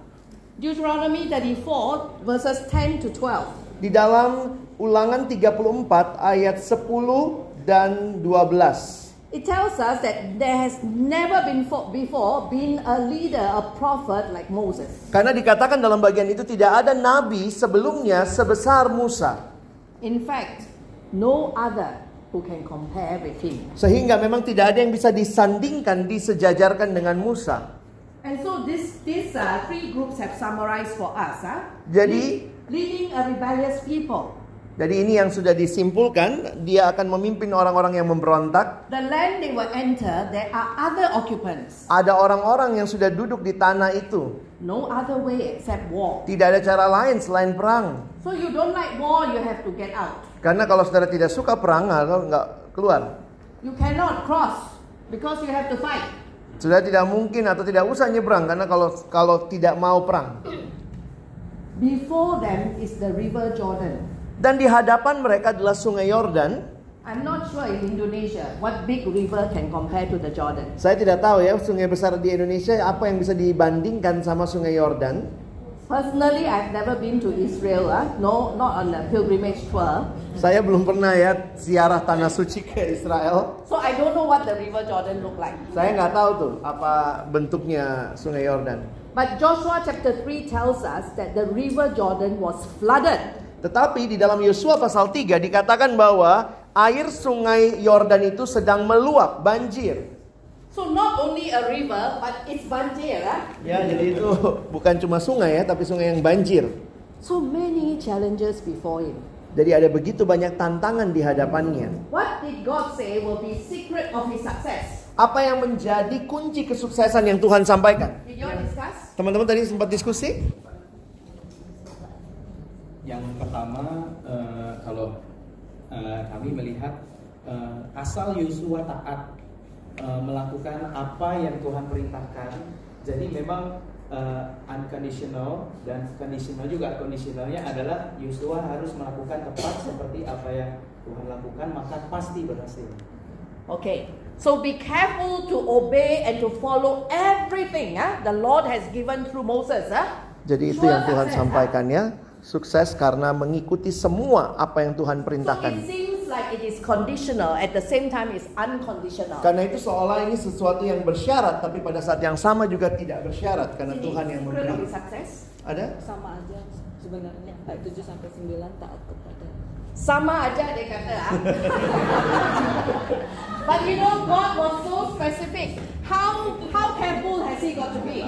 Speaker 3: Deuteronomy 34, verses 10 to 12.
Speaker 2: Di dalam Ulangan 34 ayat 10 dan 12.
Speaker 3: It tells us that there has never been fo- before been a leader, a prophet like Moses.
Speaker 2: Karena dikatakan dalam bagian itu tidak ada nabi sebelumnya sebesar Musa.
Speaker 3: In fact, no other who can compare with him.
Speaker 2: Sehingga memang tidak ada yang bisa disandingkan, disejajarkan dengan Musa.
Speaker 3: And so this, these uh, three groups have summarized for us. ah.
Speaker 2: Jadi-
Speaker 3: leading a rebellious people,
Speaker 2: Jadi ini yang sudah disimpulkan, dia akan memimpin orang-orang yang memberontak.
Speaker 3: the land they will enter, there are other occupants.
Speaker 2: Ada orang-orang yang sudah duduk di tanah itu.
Speaker 3: No other way except war.
Speaker 2: Tidak ada cara lain selain perang.
Speaker 3: So you don't like war, you have to get out.
Speaker 2: Karena kalau saudara tidak suka perang, nggak- nggak keluar.
Speaker 3: You cannot cross because you have to fight.
Speaker 2: Sudah tidak mungkin atau tidak usah nyebrang karena kalau kalau tidak mau perang.
Speaker 3: Before them is the river Jordan.
Speaker 2: Dan di hadapan mereka adalah Sungai Yordan
Speaker 3: I'm not sure in Indonesia what big river can compare to the Jordan.
Speaker 2: Saya tidak tahu ya sungai besar di Indonesia apa yang bisa dibandingkan sama Sungai Yordan.
Speaker 3: Personally, I've never been to Israel. ah. No, not on a pilgrimage tour.
Speaker 2: Saya belum pernah ya ziarah tanah suci ke Israel.
Speaker 3: So I don't know what the River Jordan looked like.
Speaker 2: Saya nggak tahu tuh apa bentuknya Sungai Yordan.
Speaker 3: But Joshua chapter 3 tells us that the River Jordan was flooded.
Speaker 2: Tetapi di dalam Yosua pasal 3 dikatakan bahwa air sungai Yordan itu sedang meluap, banjir.
Speaker 3: So not only a river, but it's banjir. ah.
Speaker 2: Ya, jadi itu bukan cuma sungai ya, tapi sungai yang banjir.
Speaker 3: So many challenges before him.
Speaker 2: Jadi ada begitu banyak tantangan di hadapannya.
Speaker 3: What did God say will be secret of his success?
Speaker 2: Apa yang menjadi kunci kesuksesan yang Tuhan sampaikan?
Speaker 3: Did you all discuss?
Speaker 2: Teman-teman tadi sempat diskusi?
Speaker 5: Yang pertama eh, kalau eh, kami melihat eh, asal Yosua taat eh, melakukan apa yang Tuhan perintahkan, jadi memang eh, unconditional dan conditional juga conditionalnya adalah Yosua harus melakukan tepat seperti apa yang Tuhan lakukan maka pasti berhasil.
Speaker 3: Okay. So be careful to obey and to follow everything ah, the Lord has given through Moses. ah.
Speaker 2: Jadi itu yang Tuhan sampaikan ya. Sukses karena mengikuti semua apa yang Tuhan
Speaker 3: So it
Speaker 2: perintahkan.
Speaker 3: seems like it is conditional, at the same time it's unconditional.
Speaker 2: Karena itu seolah ini sesuatu yang bersyarat, tapi pada saat yang sama juga tidak bersyarat karena
Speaker 3: Ini
Speaker 2: Tuhan yang
Speaker 3: secret of his
Speaker 2: memberi.
Speaker 3: success.
Speaker 2: Ada?
Speaker 1: sama aja sebenarnya ayat 7 sampai 9 taat kepada
Speaker 3: Sama aja dia kata ah. But you know God was so specific. How how careful has he got to be?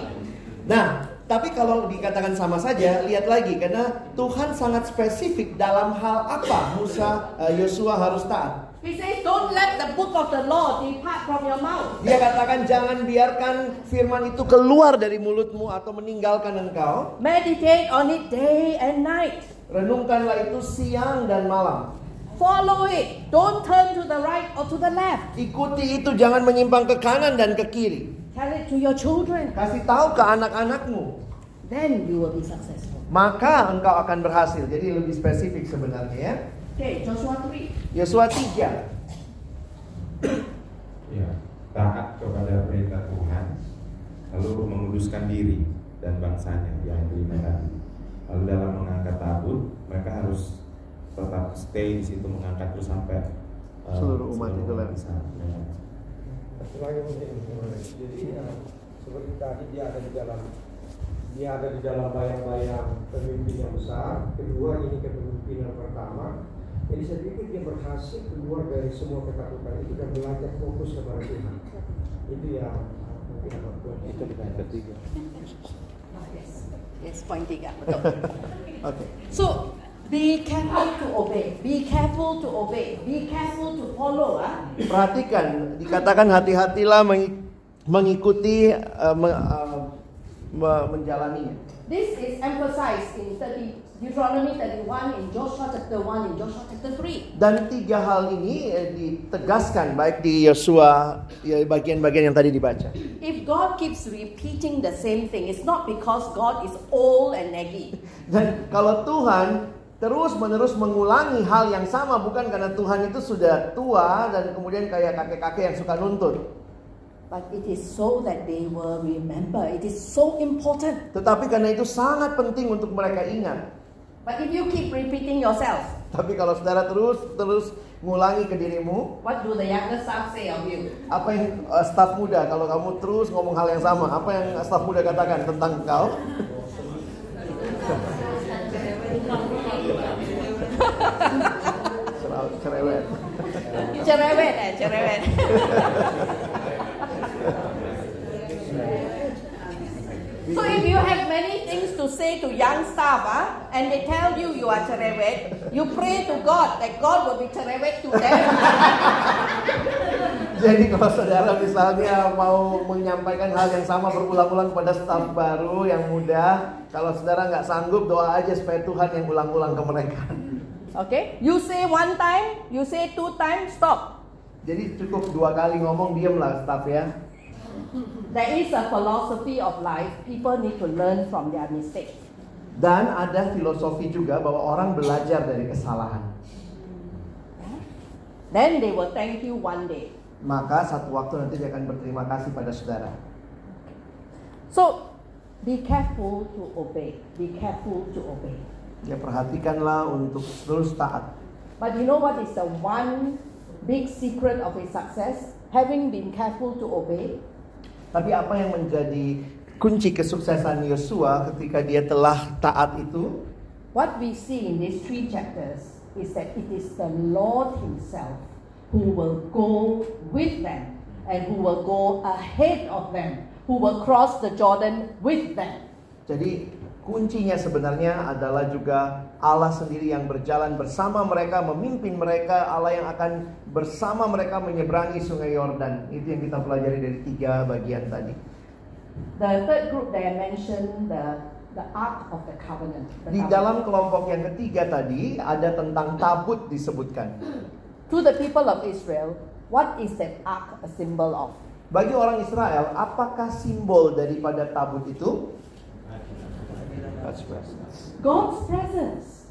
Speaker 2: Nah, tapi kalau dikatakan sama saja, lihat lagi karena Tuhan sangat spesifik dalam hal apa Musa eh, Yosua harus taat.
Speaker 3: He says don't let the book of the law depart from your mouth.
Speaker 2: Dia katakan jangan biarkan firman itu keluar dari mulutmu atau meninggalkan engkau.
Speaker 3: Meditate on it day and night.
Speaker 2: Renungkanlah itu siang dan malam.
Speaker 3: Follow it. Don't turn to the right or to the left.
Speaker 2: Ikuti itu jangan menyimpang ke kanan dan ke kiri.
Speaker 3: Tell it to your children.
Speaker 2: Kasih tahu ke anak-anakmu,
Speaker 3: Then you will be successful.
Speaker 2: maka engkau akan berhasil. Jadi lebih spesifik sebenarnya ya.
Speaker 3: Okay, Joshua 3.
Speaker 2: Yosua 3.
Speaker 7: Ya, taat kepada perintah Tuhan, lalu menguduskan diri dan bangsanya yang kelima tadi. Lalu dalam mengangkat tabut, mereka harus tetap stay di situ mengangkat terus sampai eh,
Speaker 2: Seluruh umat itu
Speaker 7: umat
Speaker 2: lah.
Speaker 7: di sana. Ya.
Speaker 8: Satu lagi mungkin jadi ya, seperti tadi dia ada di dalam dia ada di dalam bayang-bayang pemimpin yang besar kedua ini kepemimpinan pertama jadi saya pikir dia berhasil keluar dari semua ketakutan itu dan belajar fokus kepada Tuhan itu yang mungkin akan kuat.
Speaker 7: ketiga.
Speaker 3: Yes. Yes, point tiga. Betul.
Speaker 2: Oke.
Speaker 3: So be careful to obey. Be careful to obey. Be careful to follow. Ah.
Speaker 2: Perhatikan, dikatakan hati-hatilah mengi- mengikuti eh, me- eh, me- menjalaninya.
Speaker 3: This is emphasized in 30, Deuteronomy 31, in Joshua chapter 1, in Joshua chapter 3.
Speaker 2: Dan tiga hal ini eh, ditegaskan baik di Yosua ya, bagian-bagian yang tadi dibaca.
Speaker 3: If God keeps repeating the same thing, it's not because God is old and naggy.
Speaker 2: Dan kalau Tuhan terus-menerus mengulangi hal yang sama bukan karena Tuhan itu sudah tua dan kemudian kayak kakek-kakek yang suka nuntut.
Speaker 3: But it is so that they will remember. It is so important.
Speaker 2: Tetapi karena itu sangat penting untuk mereka ingat.
Speaker 3: But if you keep repeating yourself,
Speaker 2: Tapi kalau saudara terus-terus ngulangi ke dirimu,
Speaker 3: what do the younger staff say of you?
Speaker 2: apa yang eh, staf muda kalau kamu terus ngomong hal yang sama, apa yang staf muda katakan tentang kau? Cerewet, cerewet.
Speaker 3: Cerewet eh, cerewet. So if you have many things to say to young staff ah, and they tell you you are cerewet, you pray to God that God will be cerewet to them.
Speaker 2: Jadi kalau saudara misalnya mau menyampaikan hal yang sama berulang-ulang kepada staf baru yang muda, kalau saudara nggak sanggup doa aja supaya Tuhan yang ulang-ulang ke mereka.
Speaker 3: Okay? You say one time, you say two times, stop.
Speaker 2: Jadi cukup dua kali ngomong diemlah staf ya.
Speaker 3: There is a philosophy of life. People need to learn from their mistakes.
Speaker 2: Dan ada filosofi juga bahwa orang belajar dari kesalahan.
Speaker 3: Then they will thank you one day.
Speaker 2: maka satu waktu nanti dia akan berterima kasih pada saudara.
Speaker 3: So be careful to obey. Be careful to obey.
Speaker 2: Ya perhatikanlah untuk terus taat.
Speaker 3: But you know what is the one big secret of his success? Having been careful to obey,
Speaker 2: Tapi apa yang menjadi kunci kesuksesan Yosua ketika dia telah taat itu?
Speaker 3: what we see in these three chapters is that it is the Lord Himself who will go with them and who will go ahead of them, who will cross the Jordan with them.
Speaker 2: Jadi kuncinya sebenarnya adalah juga Allah sendiri yang berjalan bersama mereka, memimpin mereka, Allah yang akan bersama mereka menyeberangi sungai Yordan. Itu yang kita pelajari dari tiga bagian tadi.
Speaker 3: The third group that I mentioned, the, the Ark of the Covenant. the
Speaker 2: Di
Speaker 3: covenant.
Speaker 2: dalam kelompok yang ketiga tadi ada tentang tabut disebutkan.
Speaker 3: To the people of Israel, what is that Ark a symbol of?
Speaker 2: Bagi orang Israel, apakah simbol daripada tabut itu?
Speaker 3: God's presence.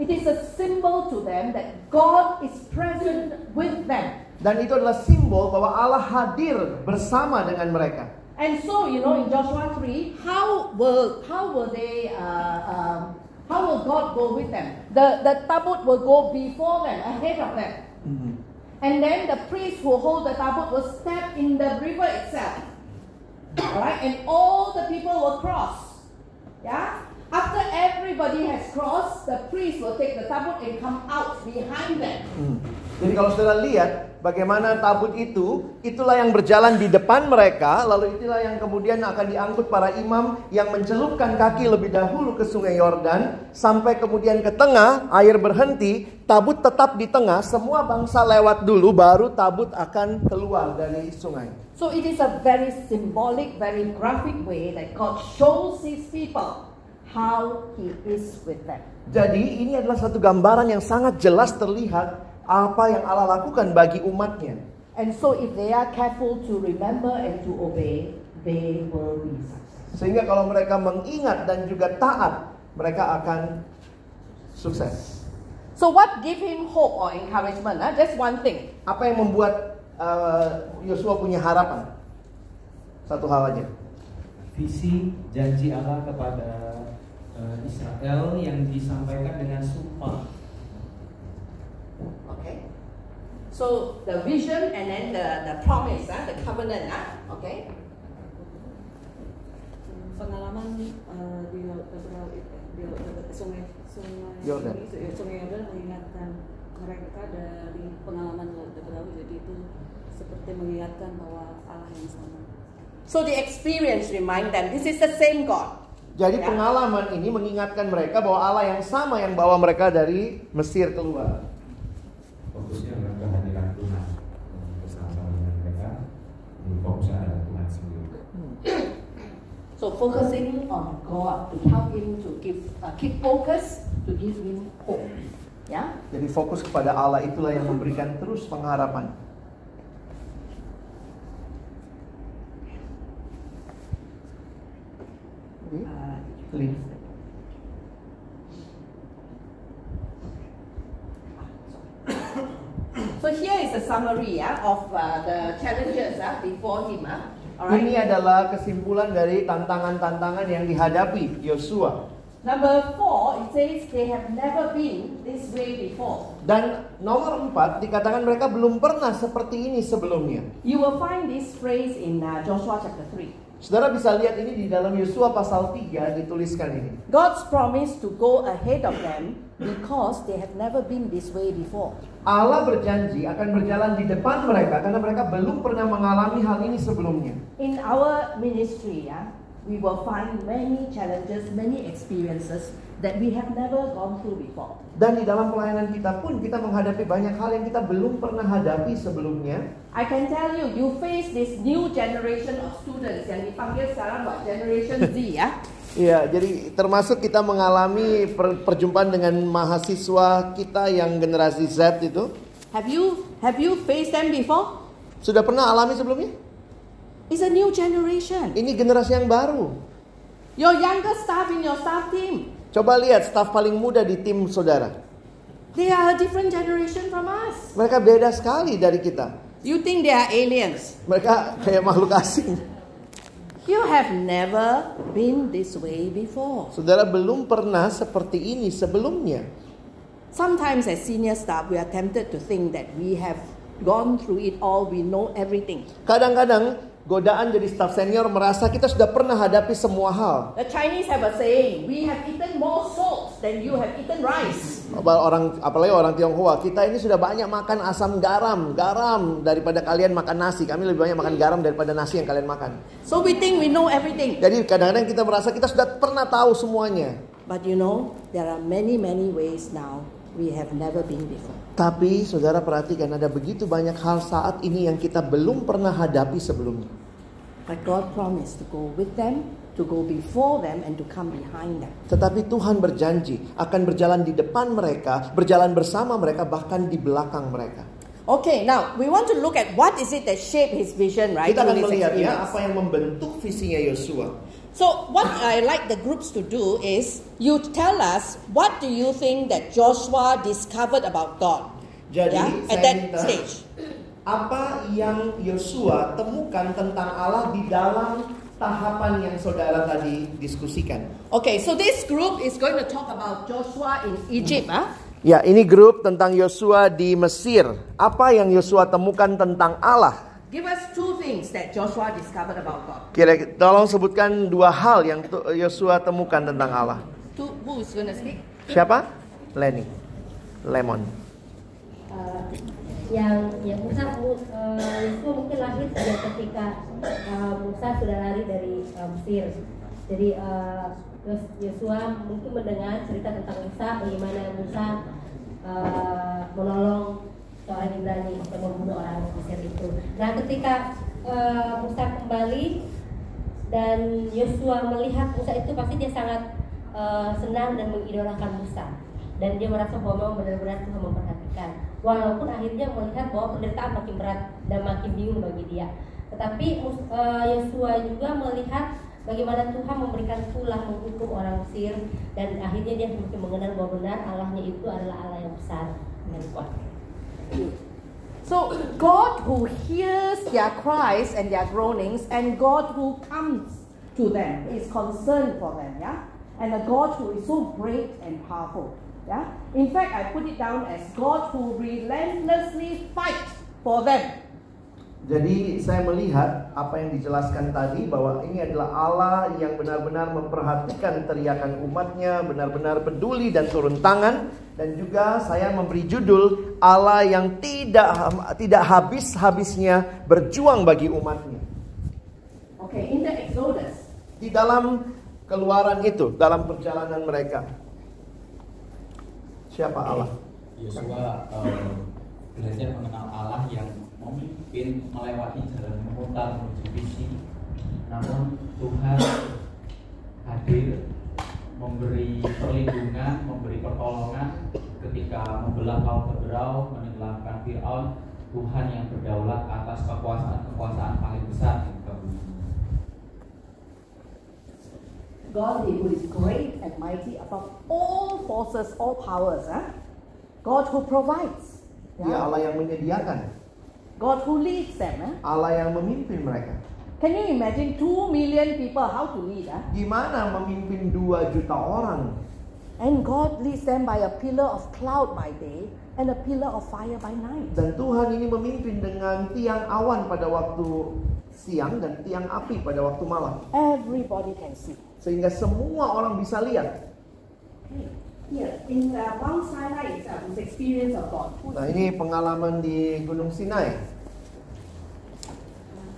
Speaker 3: It is a symbol to them that God is present with them.
Speaker 2: Dan itu adalah simbol bahwa Allah hadir bersama dengan mereka.
Speaker 3: And so, you know, in Joshua 3, how will how will they uh, um, how will God go with them? The the tabut will go before them, ahead of them. And then the priest who hold the tabut will step in the river itself. Alright? And all the people will cross. Yeah? After everybody has crossed, the priest will take the tabut and come out behind them.
Speaker 2: Hmm. Jadi kalau saudara lihat bagaimana tabut itu, itulah yang berjalan di depan mereka, lalu itulah yang kemudian akan diangkut para imam yang mencelupkan kaki lebih dahulu ke sungai Yordan, sampai kemudian ke tengah, air berhenti, tabut tetap di tengah, semua bangsa lewat dulu, baru tabut akan keluar dari sungai.
Speaker 3: So it is a very symbolic, very graphic way that God shows his people how he is with them.
Speaker 2: Jadi ini adalah satu gambaran yang sangat jelas terlihat apa yang Allah lakukan bagi umatnya.
Speaker 3: And so if they are careful to remember and to obey, they will be successful.
Speaker 2: Sehingga kalau mereka mengingat dan juga taat, mereka akan sukses.
Speaker 3: So what give him hope or encouragement? Huh? Just one thing.
Speaker 2: Apa yang membuat uh, Yosua punya harapan? Satu hal aja.
Speaker 5: visi janji Allah kepada eh, Israel yang disampaikan dengan sumpah
Speaker 3: Okay. So the vision and then the, the promise, huh? the covenant, huh? okay?
Speaker 1: pengalaman eh, di laut Teberau itu di laut Teberau- sungai sungai
Speaker 2: Yordan.
Speaker 1: ini, su- sungai Yordan mengingatkan mereka dari pengalaman laut Teberau jadi itu seperti mengingatkan bahwa Allah yang sama
Speaker 3: So the experience remind them this is the same God.
Speaker 2: Jadi
Speaker 3: Ya.
Speaker 2: pengalaman ini mengingatkan mereka bahwa Allah yang sama yang bawa mereka dari Mesir keluar.
Speaker 9: fokusnya adalah kehadiran Tuhan bersama-sama dengan mereka fokusnya adalah Tuhan sendiri
Speaker 3: So focusing on God to help him to give uh, keep focus to give him hope. Yeah.
Speaker 2: Jadi fokus kepada Allah itulah yang memberikan terus pengharapan.
Speaker 3: Uh,
Speaker 2: Lin.
Speaker 3: so here is a summary yeah, of uh, the challenges uh, before him. Uh, all right.
Speaker 2: Ini adalah kesimpulan dari tantangan-tantangan yang dihadapi Yosua.
Speaker 3: Number four, it says they have never been this way before.
Speaker 2: Dan nomor empat dikatakan mereka belum pernah seperti ini sebelumnya.
Speaker 3: You will find this phrase in uh, Joshua chapter three.
Speaker 2: Saudara bisa lihat ini di dalam Yosua pasal 3 dituliskan ini.
Speaker 3: God's promise to go ahead of them because they have never been this way before.
Speaker 2: Allah berjanji akan berjalan di depan mereka karena mereka belum pernah mengalami hal ini sebelumnya.
Speaker 3: In our ministry, yeah, we will find many challenges, many experiences that we have never gone through before.
Speaker 2: Dan di dalam pelayanan kita pun kita menghadapi banyak hal yang kita belum pernah hadapi sebelumnya.
Speaker 3: I can tell you, you face this new generation of students yang dipanggil sekarang what Generation Z ya.
Speaker 2: Iya, jadi termasuk kita mengalami per- perjumpaan dengan mahasiswa kita yang generasi Z itu.
Speaker 3: Have you have you faced them before?
Speaker 2: Sudah pernah alami sebelumnya?
Speaker 3: It's a new generation.
Speaker 2: Ini generasi yang baru.
Speaker 3: Your younger staff in your staff team,
Speaker 2: Coba lihat staf paling muda di tim saudara.
Speaker 3: They are a different generation from us.
Speaker 2: Mereka beda sekali dari kita.
Speaker 3: You think they are aliens?
Speaker 2: Mereka kayak makhluk asing.
Speaker 3: You have never been this way before.
Speaker 2: Saudara belum pernah seperti ini sebelumnya.
Speaker 3: Sometimes, as senior staff, we are tempted to think that we have gone through it all, we know everything.
Speaker 2: Kadang-kadang godaan jadi staf senior merasa kita sudah pernah hadapi semua hal.
Speaker 3: The Chinese have a saying we have eaten more salt than you have eaten rice.
Speaker 2: Apa- Orang apalagi orang Tionghoa, kita ini sudah banyak makan asam garam, garam daripada kalian makan nasi. Kami lebih banyak makan garam daripada nasi yang kalian makan.
Speaker 3: So we think we know everything.
Speaker 2: Jadi kadang-kadang kita merasa kita sudah pernah tahu semuanya.
Speaker 3: But you know, there are many, many ways now we have never been before.
Speaker 2: Tapi saudara perhatikan ada begitu banyak hal saat ini yang kita belum pernah hadapi sebelumnya.
Speaker 3: But God promised to go with them, to go before them, and to come behind them.
Speaker 2: Tetapi Tuhan berjanji akan berjalan di depan mereka, berjalan bersama mereka, bahkan di belakang mereka.
Speaker 3: Okay, now we want to look at what is it that shaped his vision, right?
Speaker 2: Kita akan
Speaker 3: through his
Speaker 2: melihat ya
Speaker 3: experience.
Speaker 2: apa yang membentuk visinya Yosua.
Speaker 3: So what I like the groups to do is you tell us what do you think that Joshua discovered about God?
Speaker 2: Jadi
Speaker 3: yeah,
Speaker 2: saya
Speaker 3: at that
Speaker 2: minta
Speaker 3: stage.
Speaker 2: apa yang Yosua temukan tentang Allah di dalam tahapan yang saudara tadi diskusikan.
Speaker 3: Okay, so this group is going to talk about Joshua in Egypt, huh?
Speaker 2: Ya, ini grup tentang Yosua di Mesir. Apa yang Yosua temukan tentang Allah?
Speaker 3: Give us two things that Joshua discovered about God.
Speaker 2: Kira tolong sebutkan dua hal yang tu- Yosua temukan tentang Allah.
Speaker 3: Two, who is going to speak?
Speaker 2: Siapa? Lenny. Lemon.
Speaker 10: eh, yang ya Musa Mu- eh, Yosua mungkin lahir sejak ketika eh, Musa sudah lari dari eh, Mesir. Jadi eh, Yos- Yosua mungkin mendengar cerita tentang Musa bagaimana Musa eh, menolong seorang Ibrani yang membunuh orang Mesir itu. Nah ketika eh, Musa kembali dan Yosua melihat Musa itu pasti dia sangat eh, senang dan mengidolakan Musa dan dia merasa bahwa memang benar-benar Tuhan memperhatikan walaupun akhirnya melihat bahwa penderitaan makin berat dan makin bingung bagi dia tetapi Mus- eh, Yosua juga melihat bagaimana Tuhan memberikan tulang menghukum orang Mesir dan akhirnya dia semakin mengenal bahwa benar Allahnya itu adalah Allah yang besar dan kuat
Speaker 3: So God who hears their cries and their groanings, and God who comes to them is concerned for them, yeah? And a God who is so great and powerful. Yeah? In fact, I put it down as God who relentlessly fights for them.
Speaker 2: Jadi saya melihat apa yang dijelaskan tadi bahwa ini adalah Allah yang benar-benar memperhatikan teriakan umatnya, benar-benar peduli dan turun tangan. Dan juga saya memberi judul Allah yang tidak tidak habis-habisnya berjuang bagi umatnya.
Speaker 3: Okay, in the Exodus,
Speaker 2: Di dalam keluaran itu, dalam perjalanan mereka. Siapa Allah?
Speaker 11: Yosua eh, belajar mengenal Allah yang memimpin melewati jalan memutar menuju visi. Namun Tuhan hadir memberi perlindungan, memberi pertolongan ketika membelah kaum keberau, menenggelamkan Fir'aun. Tuhan yang berdaulat atas kekuasaan-kekuasaan paling besar di muka bumi.
Speaker 3: God who is great and mighty above all forces, all powers, huh? God who provides,
Speaker 2: Dia
Speaker 3: yeah?
Speaker 2: Allah yang menyediakan,
Speaker 3: God who leads them. Huh?
Speaker 2: Allah yang memimpin mereka.
Speaker 3: Can you imagine 2 million people how to lead? Huh?
Speaker 2: Gimana memimpin 2 juta orang
Speaker 3: And God leads them by a pillar of cloud by day and a pillar of fire by night.
Speaker 2: Dan Tuhan ini memimpin dengan tiang awan pada waktu siang dan tiang api pada waktu malam.
Speaker 3: Everybody can see.
Speaker 2: Sehingga semua orang bisa lihat.
Speaker 3: Here, in uh, Mount Sinai itself, it's experience of God.
Speaker 2: Nah ini pengalaman di Gunung Sinai.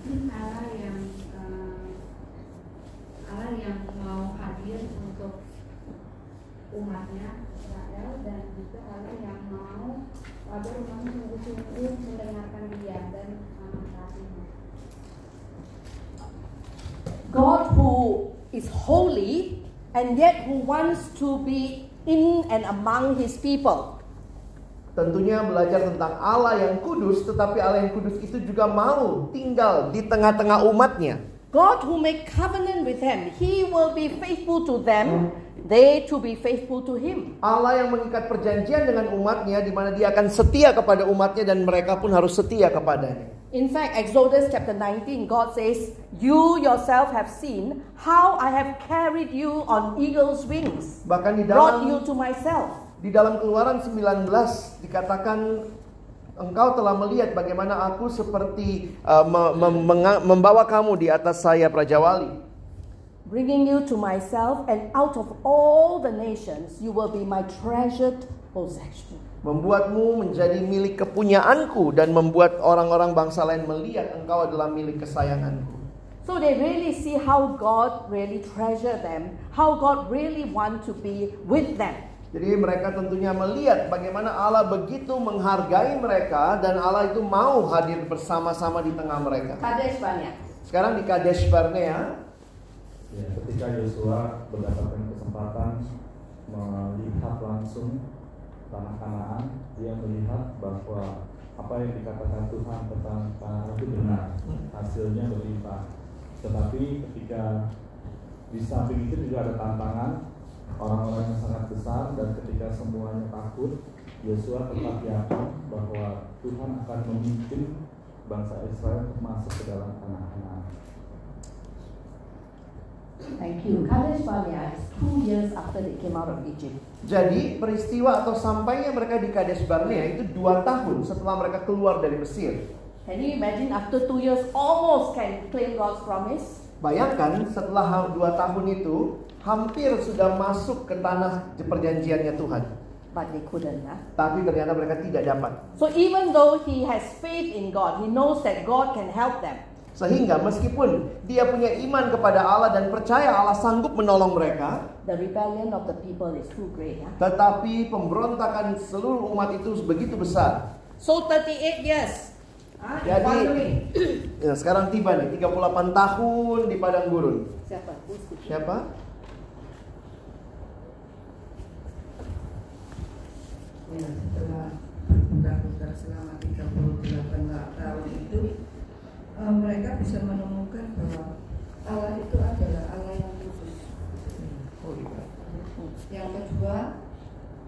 Speaker 10: mungkin Allah yang eh, Allah yang mau hadir untuk umatnya Israel dan juga Allah yang mau agar umatnya sungguh-sungguh mendengarkan dia dan mematuhinya.
Speaker 3: God who is holy and yet who wants to be in and among his people.
Speaker 2: Tentunya belajar tentang Allah yang kudus, tetapi Allah yang kudus itu juga mau tinggal di tengah-tengah umatnya.
Speaker 3: God who made covenant with them, he will be faithful to them, they to be faithful to him.
Speaker 2: Allah yang mengikat perjanjian dengan umatnya di mana dia akan setia kepada umatnya dan mereka pun harus setia kepadanya.
Speaker 3: In fact, Exodus chapter 19, God says, You yourself have seen how I have carried you on eagle's wings,
Speaker 2: Bahkan di
Speaker 3: brought
Speaker 2: dalam
Speaker 3: you to myself.
Speaker 2: di dalam Keluaran 19 dikatakan engkau telah melihat bagaimana aku seperti uh, me- me- menga- membawa kamu di atas sayap Raja Wali.
Speaker 3: Bringing you to myself, and out of all the nations, you will be my treasured possession.
Speaker 2: Membuatmu menjadi milik kepunyaanku dan membuat orang-orang bangsa lain melihat engkau adalah milik kesayanganku.
Speaker 3: So they really see how God really treasure them, how God really want to be with them.
Speaker 2: Jadi mereka tentunya melihat bagaimana Allah begitu menghargai mereka dan Allah itu mau hadir bersama-sama di tengah mereka.
Speaker 3: Kadesh Barnea.
Speaker 2: Sekarang di Kadesh Barnea,
Speaker 12: Ya, ketika Yosua mendapatkan kesempatan melihat langsung tanah Kanaan, dia melihat bahwa apa yang dikatakan Tuhan tentang Kanaan itu benar, hasilnya berlimpah. Tetapi ketika di samping itu juga ada tantangan orang-orang yang sangat besar dan ketika semuanya takut, Yosua tetap yakin bahwa Tuhan akan memimpin bangsa Israel untuk masuk ke dalam tanah Kanaan.
Speaker 3: Thank you. Kadesh Barnea is two years after they came out of Egypt.
Speaker 2: jadi peristiwa atau sampainya mereka di Kadesh Barnea itu dua tahun setelah mereka keluar dari Mesir.
Speaker 3: Can you imagine after two years almost can claim God's promise?
Speaker 2: Bayangkan setelah ha- dua tahun itu hampir sudah masuk ke tanah perjanjiannya Tuhan.
Speaker 3: But they couldn't. Huh?
Speaker 2: Tapi ternyata mereka tidak dapat.
Speaker 3: So even though he has faith in God, he knows that God can help them.
Speaker 2: Sehingga meskipun dia punya iman kepada Allah dan percaya Allah sanggup menolong mereka,
Speaker 3: The rebellion of the people is too great. ah. Huh?
Speaker 2: Tetapi pemberontakan seluruh umat itu begitu besar.
Speaker 3: So 38 years. Ah,
Speaker 2: Jadi- Ya, sekarang tiba nih 38 tahun di padang gurun.
Speaker 3: Siapa?
Speaker 2: Siapa?
Speaker 13: Ya, setelah mendaftar selama 38 tahun itu eh, mereka bisa menemukan bahwa Allah itu adalah Allah yang kudus yang kedua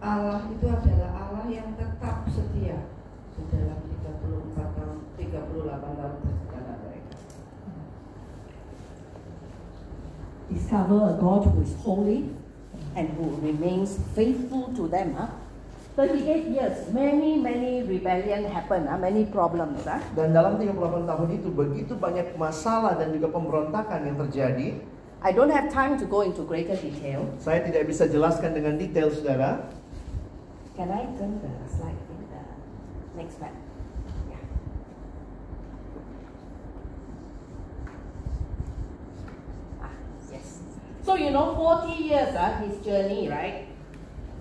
Speaker 13: Allah itu adalah Allah yang tetap setia di dalam 34 tahun 38 tahun perjalanan mereka
Speaker 3: Discover a God who is holy and who remains faithful to them. Huh? 38 years, many, many rebellion happened, huh? many problems. ah. Huh?
Speaker 2: Dan dalam 38 tahun itu begitu banyak masalah dan juga pemberontakan yang terjadi.
Speaker 3: I don't have time to go into greater detail.
Speaker 2: Saya tidak bisa jelaskan dengan detail saudara.
Speaker 3: Can I turn the slide in the next map? Yeah. Ah, yes. So you know, 40 years, uh, his journey, right?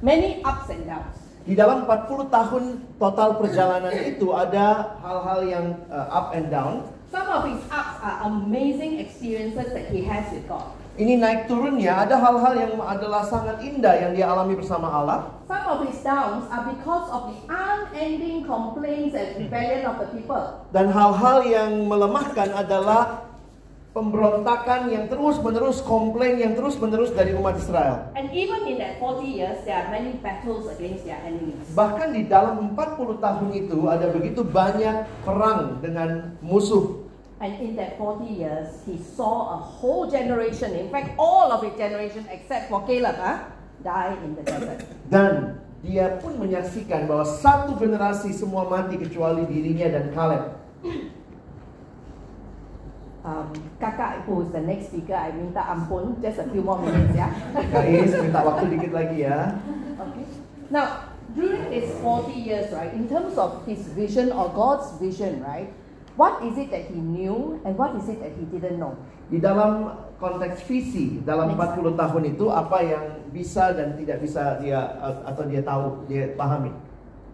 Speaker 3: Many ups and downs.
Speaker 2: Di dalam 40 tahun total perjalanan itu ada hal-hal yang uh, up and down.
Speaker 3: Some of his ups are amazing experiences that he has with God.
Speaker 2: Ini naik turunnya ada hal-hal yang adalah sangat indah yang dia alami bersama Allah.
Speaker 3: Some of his downs are because of the unending complaints and rebellion of the people.
Speaker 2: Dan hal-hal yang melemahkan adalah pemberontakan yang terus-menerus, komplain yang terus-menerus dari umat Israel.
Speaker 3: And even in that 40 years, there are many battles against their enemies.
Speaker 2: Bahkan di dalam 40 tahun itu ada begitu banyak perang dengan musuh.
Speaker 3: And in that 40 years, he saw a whole generation, in fact, all of his generation except for Caleb, huh, die in the desert.
Speaker 2: Dan dia pun menyaksikan bahwa satu generasi semua mati kecuali dirinya dan Kaleb.
Speaker 3: Um, Kakak, who is the next speaker, I minta ampun, just a few more minutes, yeah?
Speaker 2: Kak Is, minta waktu dikit lagi ya.
Speaker 3: Okay. Now, during his 40 years, right, in terms of his vision or God's vision, right, what is it that he knew and what is it that he didn't know?
Speaker 2: Di dalam konteks visi dalam 40 tahun itu apa yang bisa dan tidak bisa dia atau dia tahu, dia pahami.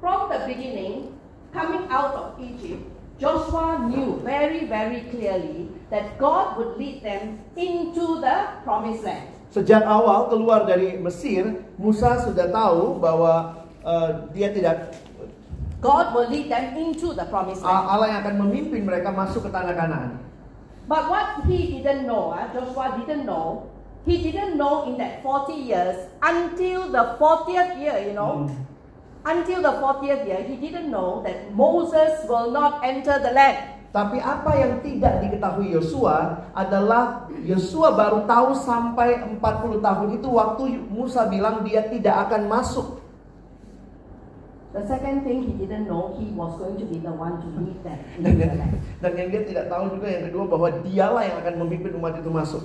Speaker 3: From the beginning, coming out of Egypt, Joshua knew very, very clearly that God would lead them into the promised land.
Speaker 2: Sejak awal keluar dari Mesir, Musa sudah tahu bahwa eh, dia tidak
Speaker 3: God will lead them into the promised land.
Speaker 2: Ah. Allah yang akan memimpin mereka masuk ke tanah Kanaan.
Speaker 3: But what he didn't know, ah, Joshua didn't know, he didn't know in that 40 years until the 40th year, you know, until the 40th year, he didn't know that Moses will not enter the land.
Speaker 2: Tapi apa yang tidak diketahui Yosua adalah Yosua baru tahu sampai 40 tahun itu waktu Musa bilang dia tidak akan masuk.
Speaker 3: The second thing he didn't know, he was going to be the one to lead them
Speaker 2: Dan
Speaker 3: into the
Speaker 2: yang,
Speaker 3: land.
Speaker 2: dan yang dia tidak tahu juga yang kedua bahwa dialah yang akan memimpin umat itu masuk.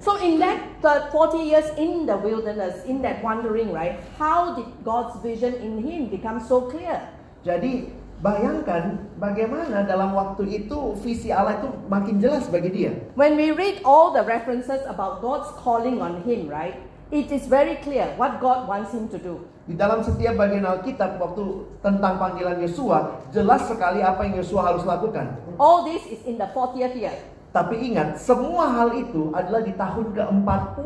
Speaker 3: So in that thir- 40 years in the wilderness, in that wandering, right, how did God's vision in him become so clear?
Speaker 2: Jadi bayangkan bagaimana dalam waktu itu visi Allah itu makin jelas bagi dia.
Speaker 3: When we read all the references about God's calling on him, right, it is very clear what God wants him to do.
Speaker 2: Di dalam setiap bagian Alkitab waktu tentang panggilan Yosua, jelas sekali apa yang Yosua harus lakukan.
Speaker 3: All this is in the 40th year.
Speaker 2: Tapi ingat, semua hal itu adalah di tahun ke-40.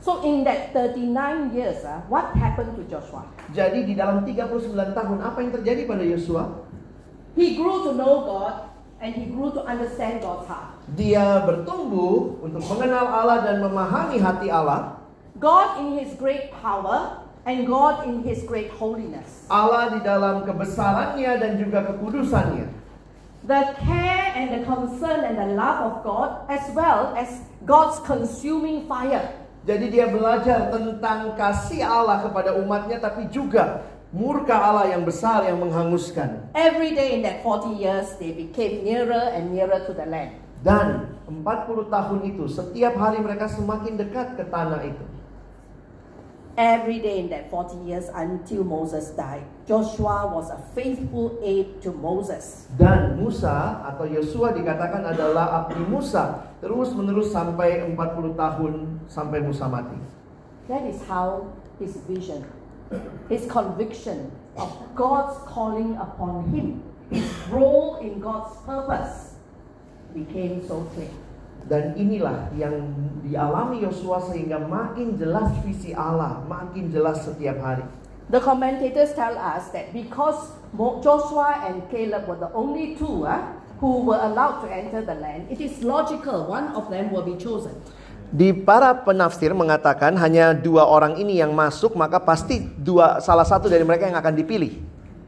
Speaker 3: So in that 39 years, ah, what happened to Joshua?
Speaker 2: Jadi di dalam 39 tahun, apa yang terjadi pada Yosua?
Speaker 3: He grew to know God and he grew to understand God's heart.
Speaker 2: Dia bertumbuh untuk mengenal Allah dan memahami hati Allah.
Speaker 3: God in his great power and God in his great holiness.
Speaker 2: Allah di dalam kebesarannya dan juga kekudusannya.
Speaker 3: The care and the concern and the love of God, as well as God's consuming fire.
Speaker 2: Jadi dia belajar tentang kasih Allah kepada umatnya tapi juga murka Allah yang besar yang menghanguskan.
Speaker 3: Every day in that 40 years, they became nearer and nearer to the land.
Speaker 2: Dan 40 tahun itu setiap hari mereka semakin dekat ke tanah itu.
Speaker 3: Every day in that 40 years until Moses died, Joshua was a faithful aid to Moses.
Speaker 2: Dan Musa atau Yosua dikatakan adalah abdi Musa terus menerus sampai 40 tahun sampai Musa mati.
Speaker 3: That is how his vision, his conviction of God's calling upon him, his role in God's purpose became so clear.
Speaker 2: Dan inilah yang dialami Yosua sehingga makin jelas visi Allah, makin jelas setiap hari.
Speaker 3: The commentators tell us that because Mo- Joshua and Caleb were the only two ah, who were allowed to enter the land, it is logical one of them will be chosen.
Speaker 2: Di para penafsir mengatakan hanya dua orang ini yang masuk maka pasti dua salah satu dari mereka yang akan dipilih.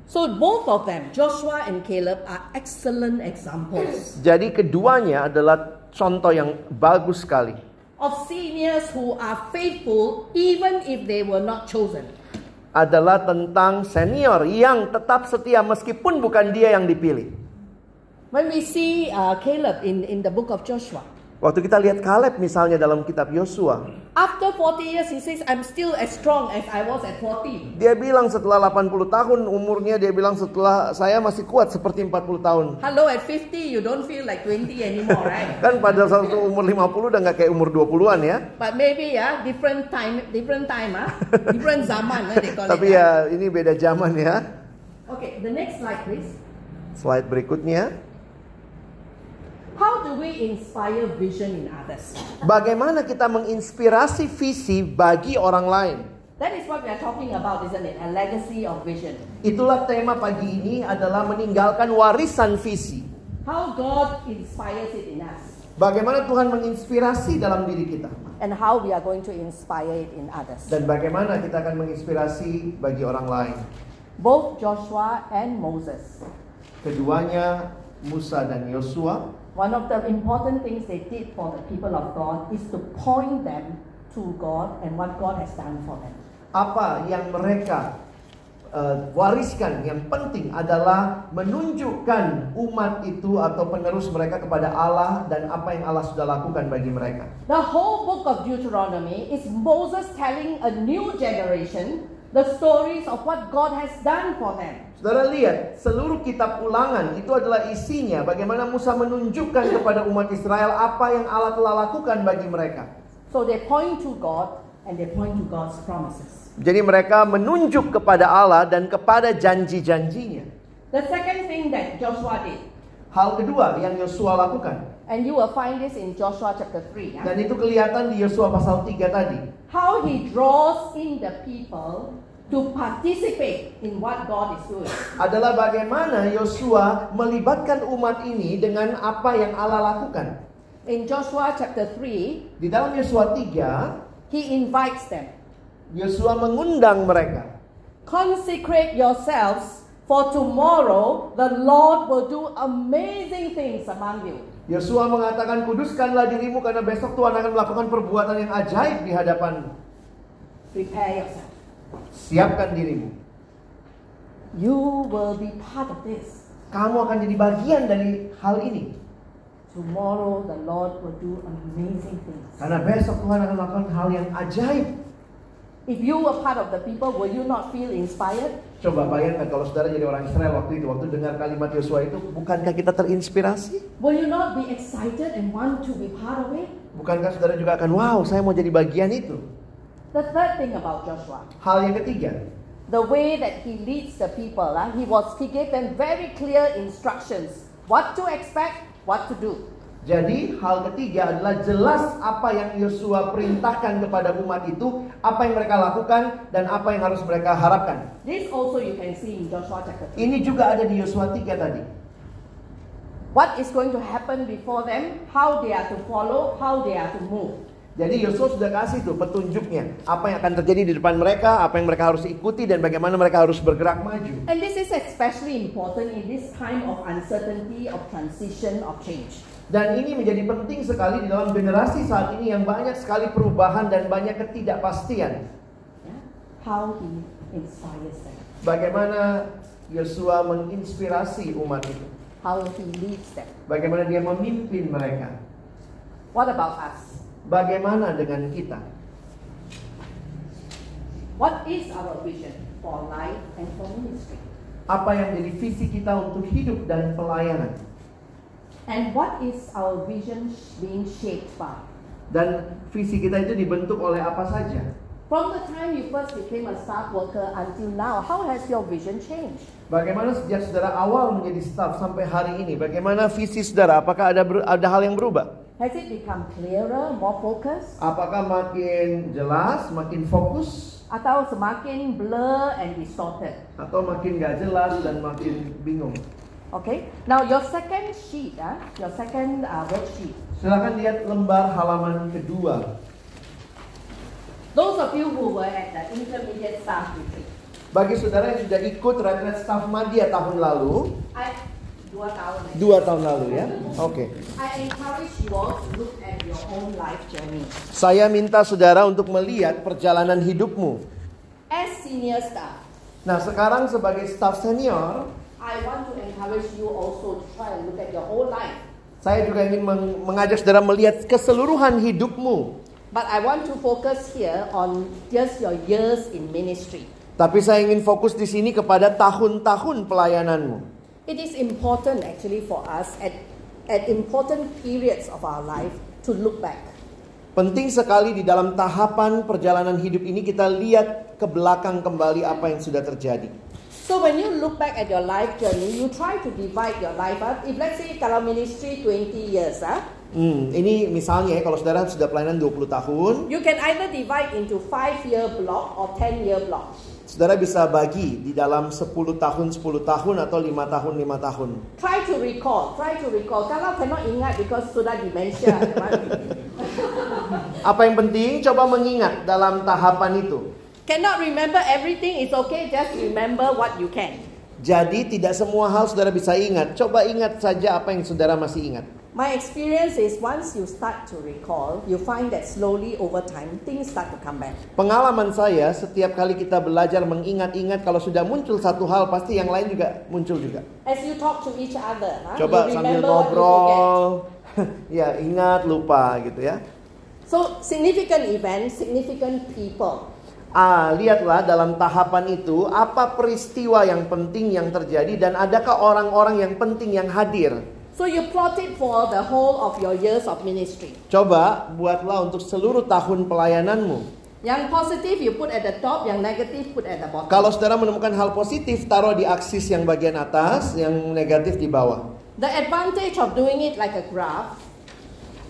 Speaker 3: So both of them, Joshua and Caleb, are excellent examples
Speaker 2: Jadi keduanya adalah contoh yang bagus sekali.
Speaker 3: of seniors who are faithful even if they were not chosen.
Speaker 2: Adalah tentang senior yang tetap setia meskipun bukan dia yang dipilih.
Speaker 3: When we see uh, Caleb in, in the book of Joshua,
Speaker 2: Waktu kita lihat Kaleb misalnya dalam kitab Yosua,
Speaker 3: after 40 years, he says, I'm still as strong as I was at 40.
Speaker 2: dia bilang setelah 80 tahun umurnya dia bilang setelah saya masih kuat seperti 40 tahun.
Speaker 3: Hello, at 50, you don't feel like 20 anymore, right?
Speaker 2: Kan pada saat itu umur 50 udah nggak kayak umur 20-an ya.
Speaker 3: But maybe yeah, different time, different time ah, different zaman ah, they call
Speaker 2: Tapi
Speaker 3: it.
Speaker 2: ya ini beda zaman ya.
Speaker 3: ah. Okay, the next slide please.
Speaker 2: Slide berikutnya.
Speaker 3: How do we inspire vision in others?
Speaker 2: Bagaimana kita menginspirasi visi bagi orang lain?
Speaker 3: That is what we are talking about, isn't it? A legacy of vision.
Speaker 2: Itulah tema pagi ini adalah meninggalkan warisan visi.
Speaker 3: How God inspires it in us,
Speaker 2: Bagaimana Tuhan menginspirasi dalam diri kita
Speaker 3: and how we are going to inspire it in others.
Speaker 2: dan bagaimana kita akan menginspirasi bagi orang lain.
Speaker 3: Both Joshua and Moses.
Speaker 2: Keduanya Musa dan Yosua
Speaker 3: One of the important things they did for the people of God is to point them to God and what God has done for them.
Speaker 2: apa yang mereka eh, wariskan yang penting adalah menunjukkan umat itu atau penerus mereka kepada Allah dan apa yang Allah sudah lakukan bagi mereka.
Speaker 3: The whole book of Deuteronomy is Moses telling a new generation the stories of what God has done for them.
Speaker 2: Saudara lihat, seluruh kitab ulangan itu adalah isinya bagaimana Musa menunjukkan kepada umat Israel apa yang Allah telah lakukan bagi mereka.
Speaker 3: So they point to God and they point to God's promises.
Speaker 2: Jadi mereka menunjuk kepada Allah dan kepada janji-janjinya.
Speaker 3: The second thing that Joshua did,
Speaker 2: Hal kedua yang Yosua lakukan.
Speaker 3: and you will find this in Joshua chapter 3, yeah?
Speaker 2: Dan itu kelihatan di Yosua pasal 3 tadi.
Speaker 3: how he draws in the people to participate in what God is doing.
Speaker 2: adalah bagaimana Yosua melibatkan umat ini dengan apa yang Allah lakukan.
Speaker 3: In Joshua chapter 3,
Speaker 2: Di dalam Yosua 3,
Speaker 3: he invites them
Speaker 2: Yosua mengundang mereka.
Speaker 3: Consecrate yourselves, for tomorrow the Lord will do amazing things among you.
Speaker 2: Yosua mengatakan kuduskanlah dirimu karena besok Tuhan akan melakukan perbuatan yang ajaib di hadapanmu.
Speaker 3: Prepare yourself.
Speaker 2: Siapkan dirimu.
Speaker 3: You will be part of this.
Speaker 2: Kamu akan jadi bagian dari hal ini.
Speaker 3: Tomorrow the Lord will do amazing things.
Speaker 2: Karena besok Tuhan akan melakukan hal yang ajaib.
Speaker 3: If you were part of the people, will you not feel inspired?
Speaker 2: Coba bayangkan kalau saudara jadi orang Israel waktu itu, waktu dengar kalimat Yosua itu, bukankah kita terinspirasi?
Speaker 3: Will you not be excited and want to be part of it?
Speaker 2: Bukankah saudara juga akan, wow, saya mau jadi bagian itu?
Speaker 3: The third thing about Joshua,
Speaker 2: Hal yang ketiga,
Speaker 3: the way that he leads the people, ah, he was he gave them very clear instructions what to expect, what to do.
Speaker 2: Jadi hal ketiga adalah jelas apa yang Yosua perintahkan kepada umat itu, apa yang mereka lakukan dan apa yang harus mereka harapkan.
Speaker 3: This also you can see in Joshua chapter 3.
Speaker 2: Ini juga ada di Yosua 3 tadi.
Speaker 3: What is going to happen before them, how they are to follow, how they are to move.
Speaker 2: Jadi Yosua sudah kasih tuh petunjuknya, apa yang akan terjadi di depan mereka, apa yang mereka harus ikuti dan bagaimana mereka harus bergerak maju.
Speaker 3: And this is especially important in this time of uncertainty, of transition, of change.
Speaker 2: Dan ini menjadi penting sekali di dalam generasi saat ini yang banyak sekali perubahan dan banyak ketidakpastian.
Speaker 3: Yeah? How he inspires them,
Speaker 2: Bagaimana Yosua menginspirasi umat itu?
Speaker 3: how he leads them.
Speaker 2: Bagaimana dia memimpin mereka?
Speaker 3: What about us?
Speaker 2: Bagaimana dengan kita?
Speaker 3: What is our vision for life and for ministry?
Speaker 2: Apa yang jadi visi kita untuk hidup dan pelayanan?
Speaker 3: And what is our vision sh- being shaped by?
Speaker 2: Dan visi kita itu dibentuk oleh apa saja?
Speaker 3: From the time you first became a staff worker until now, how has your vision changed?
Speaker 2: Bagaimana sejak saudara awal menjadi staf sampai hari ini? Bagaimana visi saudara? Apakah ada ber- ada hal yang berubah?
Speaker 3: Has it become clearer, more focused?
Speaker 2: Apakah makin jelas, makin fokus,
Speaker 3: Atau semakin blur and distorted?
Speaker 2: atau makin gak jelas dan makin bingung?
Speaker 3: Okay, now your second sheet, ah, your second uh, worksheet.
Speaker 2: Silahkan lihat lembar halaman kedua.
Speaker 3: Those of you who were at the intermediate staff retreat,
Speaker 2: Bagi saudara yang sudah ikut retret staf Madia tahun lalu,
Speaker 3: I, dua tahun eh?
Speaker 2: dua tahun lalu ya. Oke.
Speaker 3: I encourage you all to look at your own life journey.
Speaker 2: Saya minta saudara untuk melihat perjalanan hidupmu.
Speaker 3: As senior staff,
Speaker 2: Nah, sekarang sebagai staf senior,
Speaker 3: I want to encourage you also to try and look at your whole life.
Speaker 2: saya juga ingin meng- mengajak saudara melihat keseluruhan hidupmu.
Speaker 3: But I want to focus here on just your years in ministry.
Speaker 2: Tapi saya ingin fokus di sini kepada tahun-tahun pelayananmu.
Speaker 3: It is important actually for us at, at important periods of our life to look back.
Speaker 2: Penting sekali di dalam tahapan perjalanan hidup ini kita lihat ke belakang kembali apa yang sudah terjadi.
Speaker 3: So when you look back at your life journey, you try to divide your life up. If let's say kalau ministry 20 years, ah,
Speaker 2: Hmm, ini misalnya ya, kalau saudara sudah pelayanan 20 tahun,
Speaker 3: you can either divide into 5-year block or 10-year block.
Speaker 2: saudara bisa bagi di dalam 10 tahun 10 tahun atau 5 tahun 5 tahun.
Speaker 3: Try to recall, try to recall. Kalau cannot ingat because sudah dementia. memang.
Speaker 2: Apa yang penting coba mengingat dalam tahapan itu.
Speaker 3: cannot remember everything, it's okay. Just remember what you can.
Speaker 2: Jadi tidak semua hal saudara bisa ingat. Coba ingat saja apa yang saudara masih ingat.
Speaker 3: My experience is once you start to recall, you find that slowly over time things start to come back.
Speaker 2: Pengalaman saya setiap kali kita belajar mengingat-ingat kalau sudah muncul satu hal pasti yang lain juga muncul juga.
Speaker 3: As you talk to each other, ah,
Speaker 2: Coba
Speaker 3: you
Speaker 2: sambil
Speaker 3: remember what you forget.
Speaker 2: ngobrol. ya, ingat lupa gitu ya.
Speaker 3: So significant events, significant people.
Speaker 2: Ah, lihatlah dalam tahapan itu apa peristiwa yang penting yang terjadi dan adakah orang-orang yang penting yang hadir.
Speaker 3: So you plot it for the whole of your years of ministry.
Speaker 2: Coba buatlah untuk seluruh tahun pelayananmu.
Speaker 3: Yang positive you put at the top, yang negative put at the bottom.
Speaker 2: Kalau saudara menemukan hal positif, taruh di aksis yang bagian atas, yang negatif di bawah.
Speaker 3: the advantage of doing it like a graph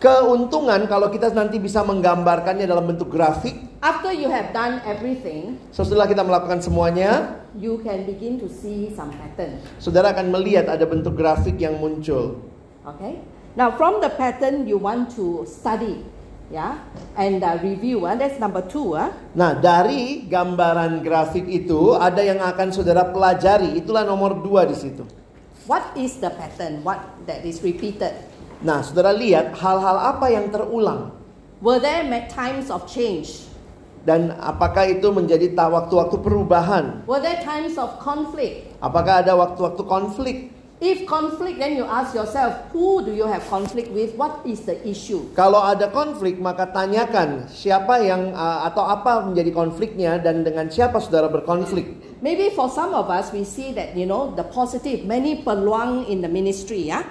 Speaker 2: Keuntungan kalau kita nanti bisa menggambarkannya dalam bentuk grafik,
Speaker 1: After you have done everything,
Speaker 2: So setelah kita melakukan semuanya,
Speaker 1: you can begin to see some pattern.
Speaker 2: saudara akan melihat ada bentuk grafik yang muncul.
Speaker 1: Okay. Now, from the pattern, you want to study, yeah, and uh, review. Uh, that's number two. Uh.
Speaker 2: Nah, dari gambaran grafik itu ada yang akan saudara pelajari. Itulah nomor dua di situ.
Speaker 1: What is the pattern? What that is repeated?
Speaker 2: Nah, saudara lihat hal-hal apa yang terulang
Speaker 1: Were there ma- times of change?
Speaker 2: dan apakah itu menjadi ta- waktu-waktu perubahan?
Speaker 1: Were there times of conflict?
Speaker 2: Apakah ada waktu-waktu konflik?
Speaker 1: If conflict, then you ask yourself, who do you have conflict with? What is the issue?
Speaker 2: Kalau ada konflik, maka tanyakan siapa yang uh, atau apa menjadi konfliknya dan dengan siapa saudara berkonflik.
Speaker 1: Maybe for some of us, we see that you know the positive, many peluang in the ministry. Yeah,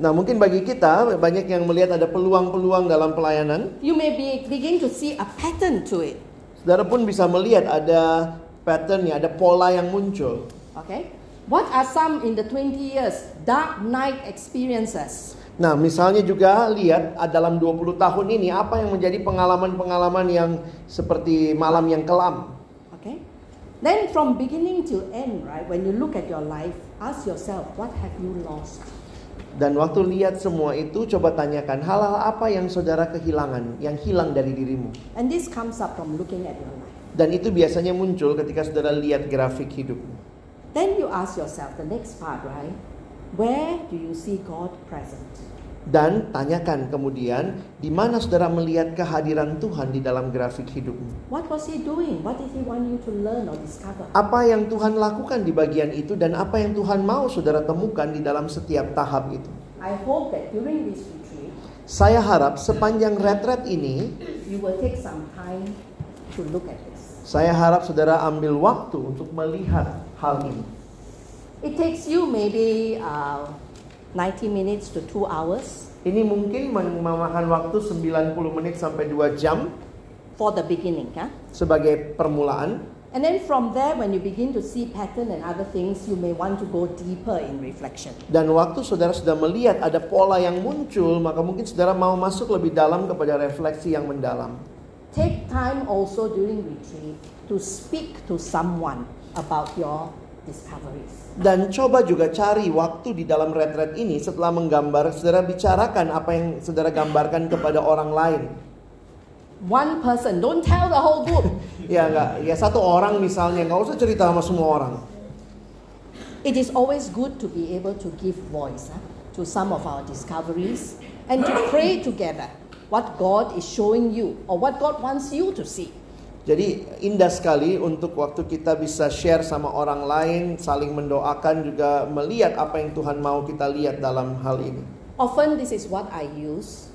Speaker 2: Nah, mungkin bagi kita banyak yang melihat ada peluang-peluang dalam pelayanan.
Speaker 1: you may be begin to see a pattern to it.
Speaker 2: Saudara pun bisa melihat ada patternnya, ada pola yang muncul.
Speaker 1: Okay. What are some in the 20 years dark night experiences?
Speaker 2: Nah, misalnya juga lihat ah, dalam 20 tahun ini apa yang menjadi pengalaman-pengalaman yang seperti malam yang kelam.
Speaker 1: Okay. Then from beginning to end, right, when you look at your life, ask yourself, what have you lost?
Speaker 2: Dan waktu lihat semua itu coba tanyakan hal-hal apa yang saudara kehilangan, yang hilang dari dirimu.
Speaker 1: And this comes up from looking at your life.
Speaker 2: Dan itu biasanya muncul ketika saudara lihat grafik hidup.
Speaker 1: Then you ask yourself the next part, right? Where do you see God present?
Speaker 2: Dan tanyakan kemudian di mana saudara melihat kehadiran Tuhan di dalam grafik hidupmu.
Speaker 1: What was He doing? What did He want you to learn or discover?
Speaker 2: Apa yang Tuhan lakukan di bagian itu dan apa yang Tuhan mau saudara temukan di dalam setiap tahap itu.
Speaker 1: I hope that during this retreat,
Speaker 2: Saya harap sepanjang retret ini,
Speaker 1: you will take some time to look at this.
Speaker 2: saya harap saudara ambil waktu untuk melihat hal ini.
Speaker 1: It takes you maybe uh, 90 minutes to two hours
Speaker 2: Ini mungkin memakan waktu 90 menit sampai 2 jam
Speaker 1: for the beginning. Huh?
Speaker 2: sebagai permulaan.
Speaker 1: And then from there, when you begin to see pattern and other things, you may want to go deeper in reflection.
Speaker 2: Dan waktu saudara sudah melihat ada pola yang muncul, maka mungkin saudara mau masuk lebih dalam kepada refleksi yang mendalam.
Speaker 1: Take time also during retreat to speak to someone about your discoveries.
Speaker 2: Dan coba juga cari waktu di dalam retret ini setelah menggambar, saudara bicarakan apa yang saudara gambarkan kepada orang lain.
Speaker 1: One person, don't tell the whole group.
Speaker 2: Ya nggak, ya satu orang misalnya, nggak usah cerita sama semua orang.
Speaker 1: it is always good to be able to give voice huh, to some of our discoveries and to pray together what God is showing you or what God wants you to see.
Speaker 2: Jadi indah sekali untuk waktu kita bisa share sama orang lain, saling mendoakan juga melihat apa yang Tuhan mau kita lihat dalam hal ini.
Speaker 1: Often this is what I use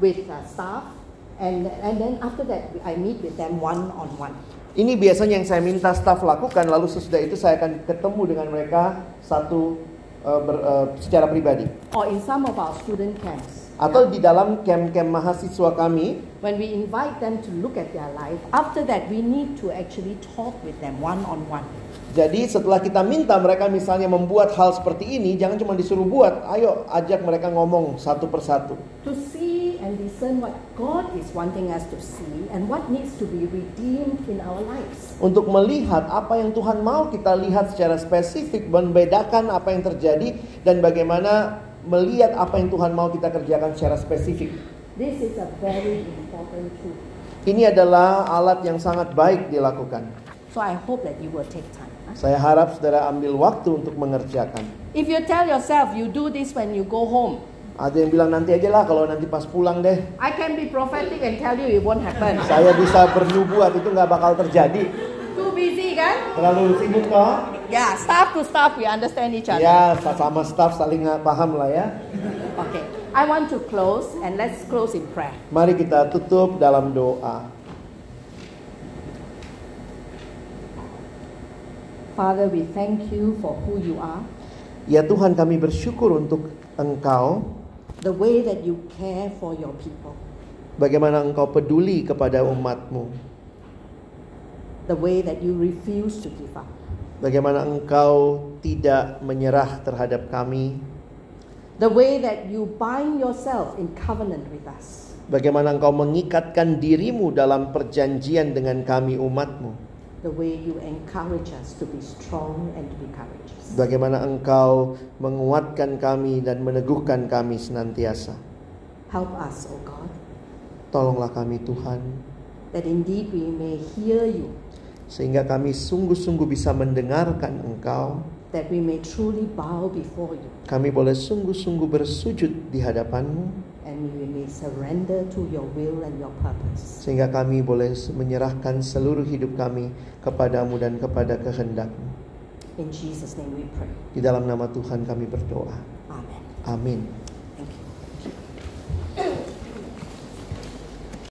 Speaker 1: with uh, staff, and and then after that I meet with them one on one.
Speaker 2: Ini biasanya yang saya minta staff lakukan, lalu sesudah itu saya akan ketemu dengan mereka satu eh, ber- eh, secara pribadi.
Speaker 1: Or in some of our student camps,
Speaker 2: Atau di dalam camp-camp mahasiswa kami,
Speaker 1: when we invite them to look at their life, after that we need to actually talk with them one on one.
Speaker 2: jadi setelah kita minta mereka misalnya membuat hal seperti ini, jangan cuma disuruh buat, ayo ajak mereka ngomong satu persatu.
Speaker 1: To see and discern what God is wanting us to see and what needs to be redeemed in our lives.
Speaker 2: Untuk melihat apa yang Tuhan mau kita lihat secara spesifik, membedakan apa yang terjadi, dan bagaimana melihat apa yang Tuhan mau kita kerjakan secara spesifik.
Speaker 1: This is a very important truth.
Speaker 2: Ini adalah alat yang sangat baik dilakukan.
Speaker 1: So I hope that you will take time. huh?
Speaker 2: Saya harap saudara ambil waktu untuk mengerjakan.
Speaker 1: If you tell yourself you do this when you go home,
Speaker 2: Ada yang bilang nanti aja lah kalau nanti pas pulang deh.
Speaker 1: I can be prophetic and tell you it won't happen.
Speaker 2: Saya bisa bernubuat itu nggak bakal terjadi.
Speaker 1: Too busy kan?
Speaker 2: Terlalu sibuk toh?
Speaker 1: Yeah, staff to staff, we understand each
Speaker 3: Kan.
Speaker 1: other.
Speaker 2: Ya, sama staff saling nggak paham lah ya.
Speaker 1: Okay, I want to close and let's close in prayer.
Speaker 2: Mari kita tutup dalam doa.
Speaker 1: Father, we thank you for who you are,
Speaker 2: Ya Tuhan kami bersyukur untuk Engkau.
Speaker 1: the way that you care for your people,
Speaker 2: Bagaimana Engkau peduli kepada umatmu.
Speaker 1: the way that you refuse to give up,
Speaker 2: Bagaimana Engkau tidak menyerah terhadap kami.
Speaker 1: the way that you bind yourself in covenant with us.
Speaker 7: Bagaimana engkau mengikatkan dirimu dalam perjanjian dengan kami umatmu.
Speaker 1: the way you encourage us to be strong and to be courageous.
Speaker 7: Bagaimana engkau menguatkan kami dan meneguhkan kami senantiasa.
Speaker 1: Help us, O God,
Speaker 7: Tolonglah kami Tuhan,
Speaker 1: that indeed we may hear you,
Speaker 7: sehingga kami sungguh-sungguh bisa mendengarkan engkau.
Speaker 1: that we may truly bow before you,
Speaker 7: Kami boleh sungguh-sungguh bersujud di hadapanmu,
Speaker 1: and we may surrender to your will and your purpose.
Speaker 7: sehingga kami boleh menyerahkan seluruh hidup kami kepadamu dan kepada kehendakmu.
Speaker 1: In Jesus' name we pray.
Speaker 7: Di dalam nama Tuhan kami berdoa.
Speaker 1: Amen.
Speaker 7: Amin.